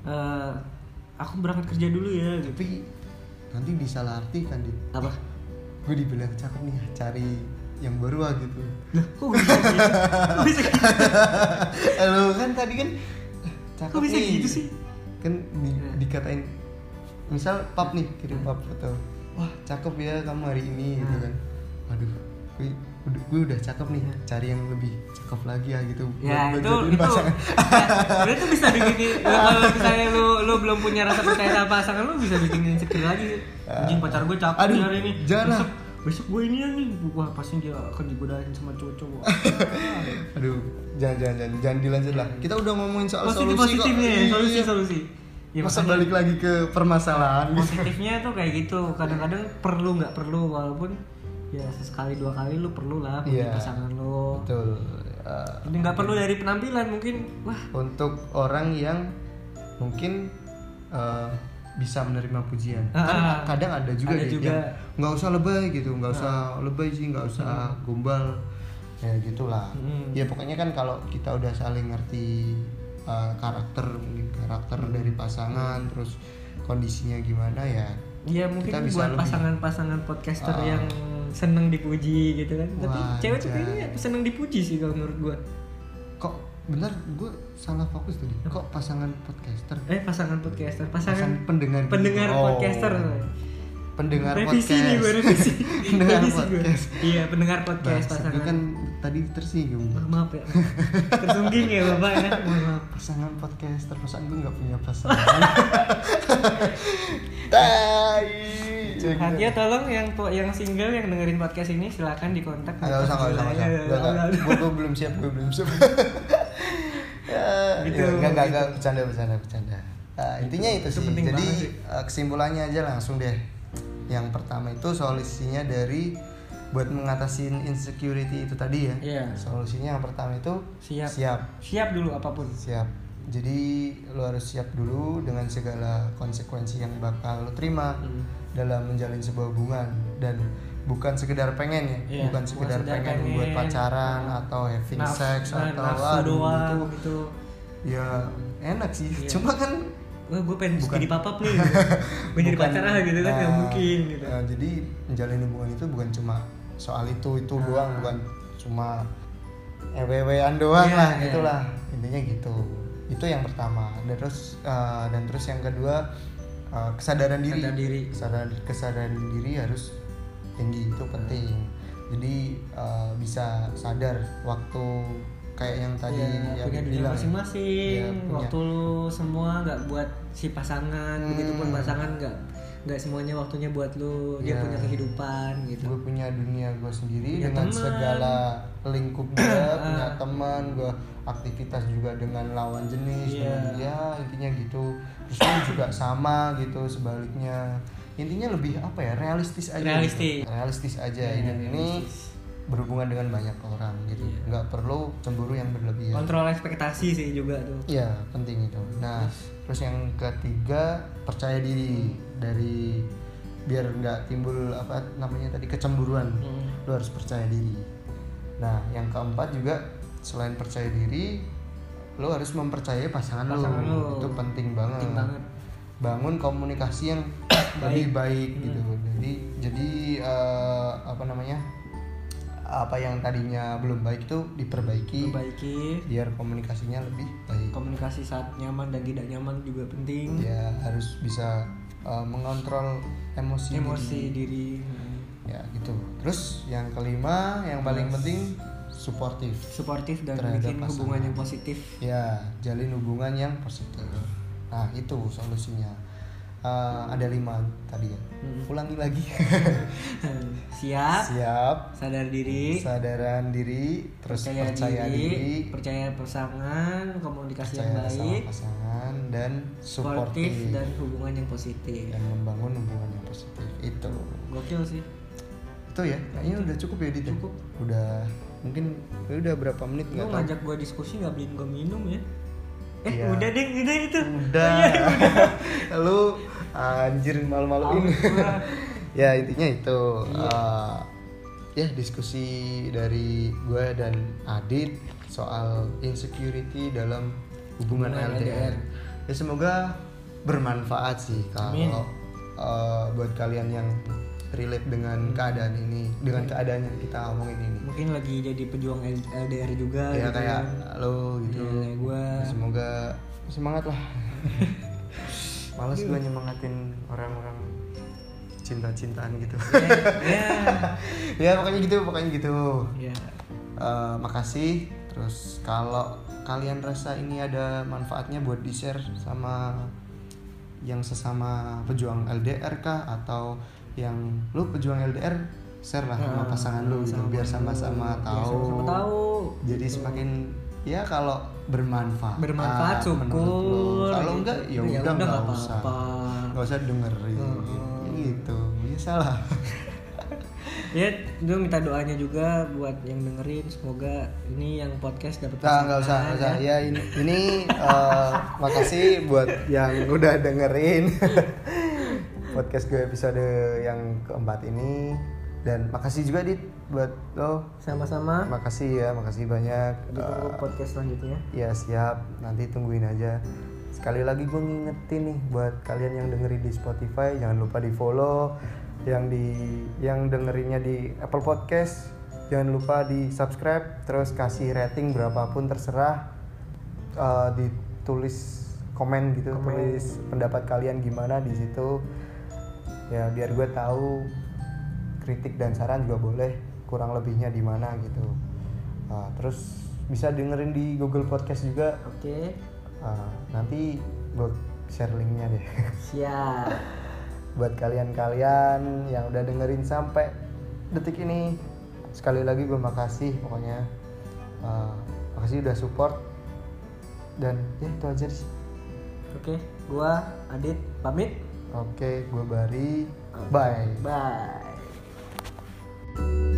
B: eh, aku berangkat kerja dulu ya gitu
A: Tapi nanti disalahartikan di.
B: apa
A: Gue dibilang cakep nih, cari yang baru ah gitu.
B: lah kok bisa gitu? Kok bisa gitu?
A: Eh, Lu kan tadi kan "Eh, cakep
B: Kok bisa
A: nih.
B: gitu sih?
A: Kan di-
B: Ya.
A: dikatain misal pap nih kirim
B: Ya.
A: pap foto. Wah, cakep ya kamu hari ini gitu
B: Ya.
A: kan. Aduh, gue udah, gue udah cakep nih,
B: Ya.
A: cari yang lebih cakep lagi ah gitu.
B: ya
A: Buat- buat
B: itu
A: jodohin
B: itu
A: pasangan.
B: ya, itu bisa bikin ya, kalau misalnya lu lu belum punya rasa percaya sama pasangan lu bisa bikin insecure lagi anjing pacar gue cakep
A: Aduh,
B: nih hari ini
A: jangan lah.
B: besok, besok gue ini ya nih wah pasti dia akan digodain sama cowok-cowok
A: Aduh, jangan jangan jangan, jangan dilanjut lah. Kita udah ngomongin soal
B: positif
A: solusi kok.
B: positifnya ya,
A: Iya.
B: solusi solusi ya,
A: Masa
B: makanya-
A: balik lagi ke permasalahan gitu.
B: positifnya tuh kayak gitu kadang-kadang perlu nggak perlu walaupun ya sesekali dua kali lu perlu lah punya
A: Iya.
B: pasangan lu
A: Betul. Eh,
B: Ini nggak perlu dari penampilan mungkin wah
A: untuk orang yang mungkin eh, bisa menerima pujian.
B: Ah,
A: Kan kadang ada juga
B: ada
A: gitu
B: juga. Ah.
A: yang nggak usah lebay gitu, nggak usah lebay sih, nggak usah gombal. Ya gitulah.
B: Hmm.
A: Ya pokoknya kan kalau kita udah saling ngerti eh, karakter mungkin karakter dari
B: Hmm.
A: pasangan terus kondisinya gimana ya
B: ya mungkin
A: Kita bisa
B: buat
A: lebih.
B: pasangan-pasangan podcaster
A: Ah.
B: yang seneng dipuji gitu kan tapi
A: Wajar.
B: cewek tuh kayaknya seneng dipuji sih kalau menurut gua
A: kok bener gue salah fokus tadi kok pasangan podcaster
B: eh pasangan podcaster pasangan
A: Pasangan pendengar
B: pendengar
A: Oh.
B: podcaster
A: pendengar
B: revisi
A: podcast
B: nih gua revisi
A: Pendengar
B: Revisi gua.
A: podcast.
B: iya pendengar podcast
A: Bahasa,
B: pasangan
A: gue kan tadi tersinggung
B: Wah, maaf ya tersungging ya bapak ya mohon maaf
A: pasangan podcaster perasaan gue nggak punya pasangan tai Gitu.
B: Nah, dia tolong yang tua- yang single yang dengerin podcast ini silakan dikontak.
A: nggak usah nggak usah nggak usah
B: Iya,
A: Gua nggak-
B: nggak-
A: gua- gua belum siap gue belum siap Ya,
B: Gitu.
A: nggak nggak nggak bercanda bercanda bercanda Eh, intinya itu
B: Itu
A: sih
B: penting
A: jadi
B: banget sih.
A: eh, kesimpulannya aja langsung deh yang pertama itu solusinya dari buat mengatasi insecurity itu tadi ya
B: Iya.
A: solusinya yang pertama itu
B: Siap.
A: siap Iya.
B: Siap dulu apapun.
A: siap Jadi lo harus siap dulu dengan segala konsekuensi yang bakal lo terima
B: Hmm.
A: dalam menjalin sebuah hubungan dan bukan sekedar pengen ya, bukan
B: Iya, bukan
A: sekedar
B: sekedar
A: pengen,
B: pengen.
A: buat pacaran atau having
B: Nafsu-
A: sex
B: nah,
A: atau
B: nafsu
A: "Waduh,
B: doang
A: itu
B: gitu.
A: ya enak sih.
B: Iya.
A: Cuma kan
B: Wah, gue pengen
A: Bukan.
B: jadi papap nih. gitu. Pengen jadi
A: Bukan,
B: pacar ah gitu kan nggak
A: nah,
B: mungkin gitu.
A: nah, jadi menjalin hubungan itu bukan cuma soal itu itu
B: Ah.
A: doang, bukan cuma ewewean doang
B: Iya,
A: lah
B: iya.
A: gitulah intinya gitu. Itu yang pertama. Dan terus eh, dan terus yang kedua eh, kesadaran diri.
B: Kesadaran diri.
A: Kesadaran kesadaran diri harus tinggi
B: Nah.
A: itu penting. Jadi eh, bisa sadar waktu kayak yang tadi
B: ya,
A: yang
B: punya dunia
A: bilang ya.
B: masing-masing
A: Ya, punya.
B: waktu lu semua nggak buat si pasangan
A: Hmm.
B: begitupun pasangan nggak nggak semuanya waktunya buat lu
A: Ya.
B: dia punya kehidupan gitu
A: gue punya dunia gue sendiri
B: Punya
A: dengan
B: teman.
A: segala lingkup gue punya
B: Ah.
A: teman gue aktivitas juga dengan lawan jenis
B: Iya.
A: dengan ya intinya gitu terus lu juga sama gitu sebaliknya intinya lebih apa ya realistis aja gitu.
B: Realistis.
A: realistis aja
B: Iya,
A: hidup ini
B: realistis.
A: berhubungan dengan banyak orang gitu
B: Iya.
A: nggak perlu cemburu yang berlebihan
B: kontrol ekspektasi sih juga tuh
A: Iya penting itu. Nah terus yang ketiga percaya diri dari biar nggak timbul apa namanya tadi kecemburuan.
B: Hmm.
A: Lu harus percaya diri. Nah yang keempat juga selain percaya diri, lu harus mempercayai pasangan, lu.
B: Pasangan lu.
A: Itu penting banget.
B: Penting banget.
A: Bangun komunikasi yang lebih baik
B: Mm-hmm.
A: gitu. Jadi jadi eh, apa namanya apa yang tadinya belum baik itu diperbaiki
B: perbaiki
A: biar komunikasinya lebih baik.
B: komunikasi saat nyaman dan tidak nyaman juga penting
A: Ya harus bisa uh, mengontrol emosi.
B: emosi
A: diri.
B: diri
A: Ya gitu. Terus yang kelima, yang paling penting suportif.
B: suportif dan
A: Terhadap
B: bikin
A: pasangan.
B: hubungan yang positif
A: Ya jalin hubungan yang positif. Nah itu solusinya. Uh, ada lima tadi ya.
B: Mm.
A: Ulangi lagi. Ah.
B: siap
A: Siap.
B: sadar diri
A: Kesadaran diri, terus percaya, diri,
B: percaya pasangan komunikasi
A: percaya
B: yang
A: sama
B: baik
A: pasangan dan
B: sportif
A: suportif Iya,
B: dan hubungan yang positif
A: dan membangun hubungan yang positif itu.
B: gokil sih
A: itu ya kayaknya udah cukup ya Dit ya?
B: Cukup.
A: udah mungkin ya udah berapa menit
B: lu
A: nggak tahu
B: ngajak gua diskusi nggak beliin gua minum ya eh
A: Iya. Hmm.
B: udah deh udah itu
A: udah lu anjir malu-maluin
B: Aus gua.
A: ya intinya itu
B: Iya.
A: Eh, ya diskusi dari gue dan Adit soal insecurity dalam hubungan,
B: Hubungan
A: LDR.
B: LDR.
A: ya semoga bermanfaat sih
B: Amin.
A: kalau eh, buat kalian yang relate dengan
B: Hmm.
A: keadaan ini dengan keadaan yang kita omongin ini
B: mungkin lagi jadi pejuang LDR juga
A: ya
B: gitu
A: kayak
B: kan.
A: halo gitu
B: Iya, gua
A: semoga semangat lah males gue nyemangatin orang-orang cinta-cintaan gitu
B: ya
A: ya pokoknya gitu pokoknya gitu
B: ya
A: Eh, makasih terus kalau kalian rasa ini ada manfaatnya buat di share sama yang sesama pejuang LDR kah atau yang lu pejuang LDR share lah sama
B: Nah,
A: pasangan lu gitu
B: sama
A: biar
B: lu.
A: sama-sama
B: Biar
A: tahu
B: sama-sama tahu.
A: jadi
B: Gitu.
A: semakin ya kalau bermanfaat
B: Bermanfaat,
A: menurut lu.
B: syukur.
A: kalau enggak ya
B: Ya
A: udah
B: udah,
A: nggak
B: nggak
A: usah
B: apa-apa.
A: nggak usah dengerin
B: Heeh.
A: gitu ya salah
B: ya gue minta doanya juga buat yang dengerin semoga ini yang podcast dapat
A: Nah, nggak usah, nggak usah. Ya ini, ini eh, makasih buat yang udah dengerin podcast gue episode yang keempat ini dan makasih juga dit buat lo.
B: ya. sama-sama
A: Makasih ya, makasih banyak. Eh,
B: ditunggu podcast selanjutnya
A: Ya siap, nanti tungguin aja. Sekali lagi gue ngingetin nih buat kalian yang dengerin di Spotify, jangan lupa di follow. Yang di yang dengerinnya di Apple Podcast, jangan lupa di subscribe. Terus kasih rating berapapun terserah. Eh, ditulis komen gitu, tulis pendapat kalian gimana di situ. Ya biar gue tahu kritik dan saran juga boleh kurang lebihnya di mana gitu. Eh, terus bisa dengerin di Google Podcast juga
B: oke
A: Ah, nanti gue share linknya deh
B: siap
A: buat kalian-kalian yang udah dengerin sampai detik ini sekali lagi gue makasih pokoknya Ah, makasih udah support dan ya itu aja sih
B: oke gua Adit pamit
A: oke gue Bari bye
B: bye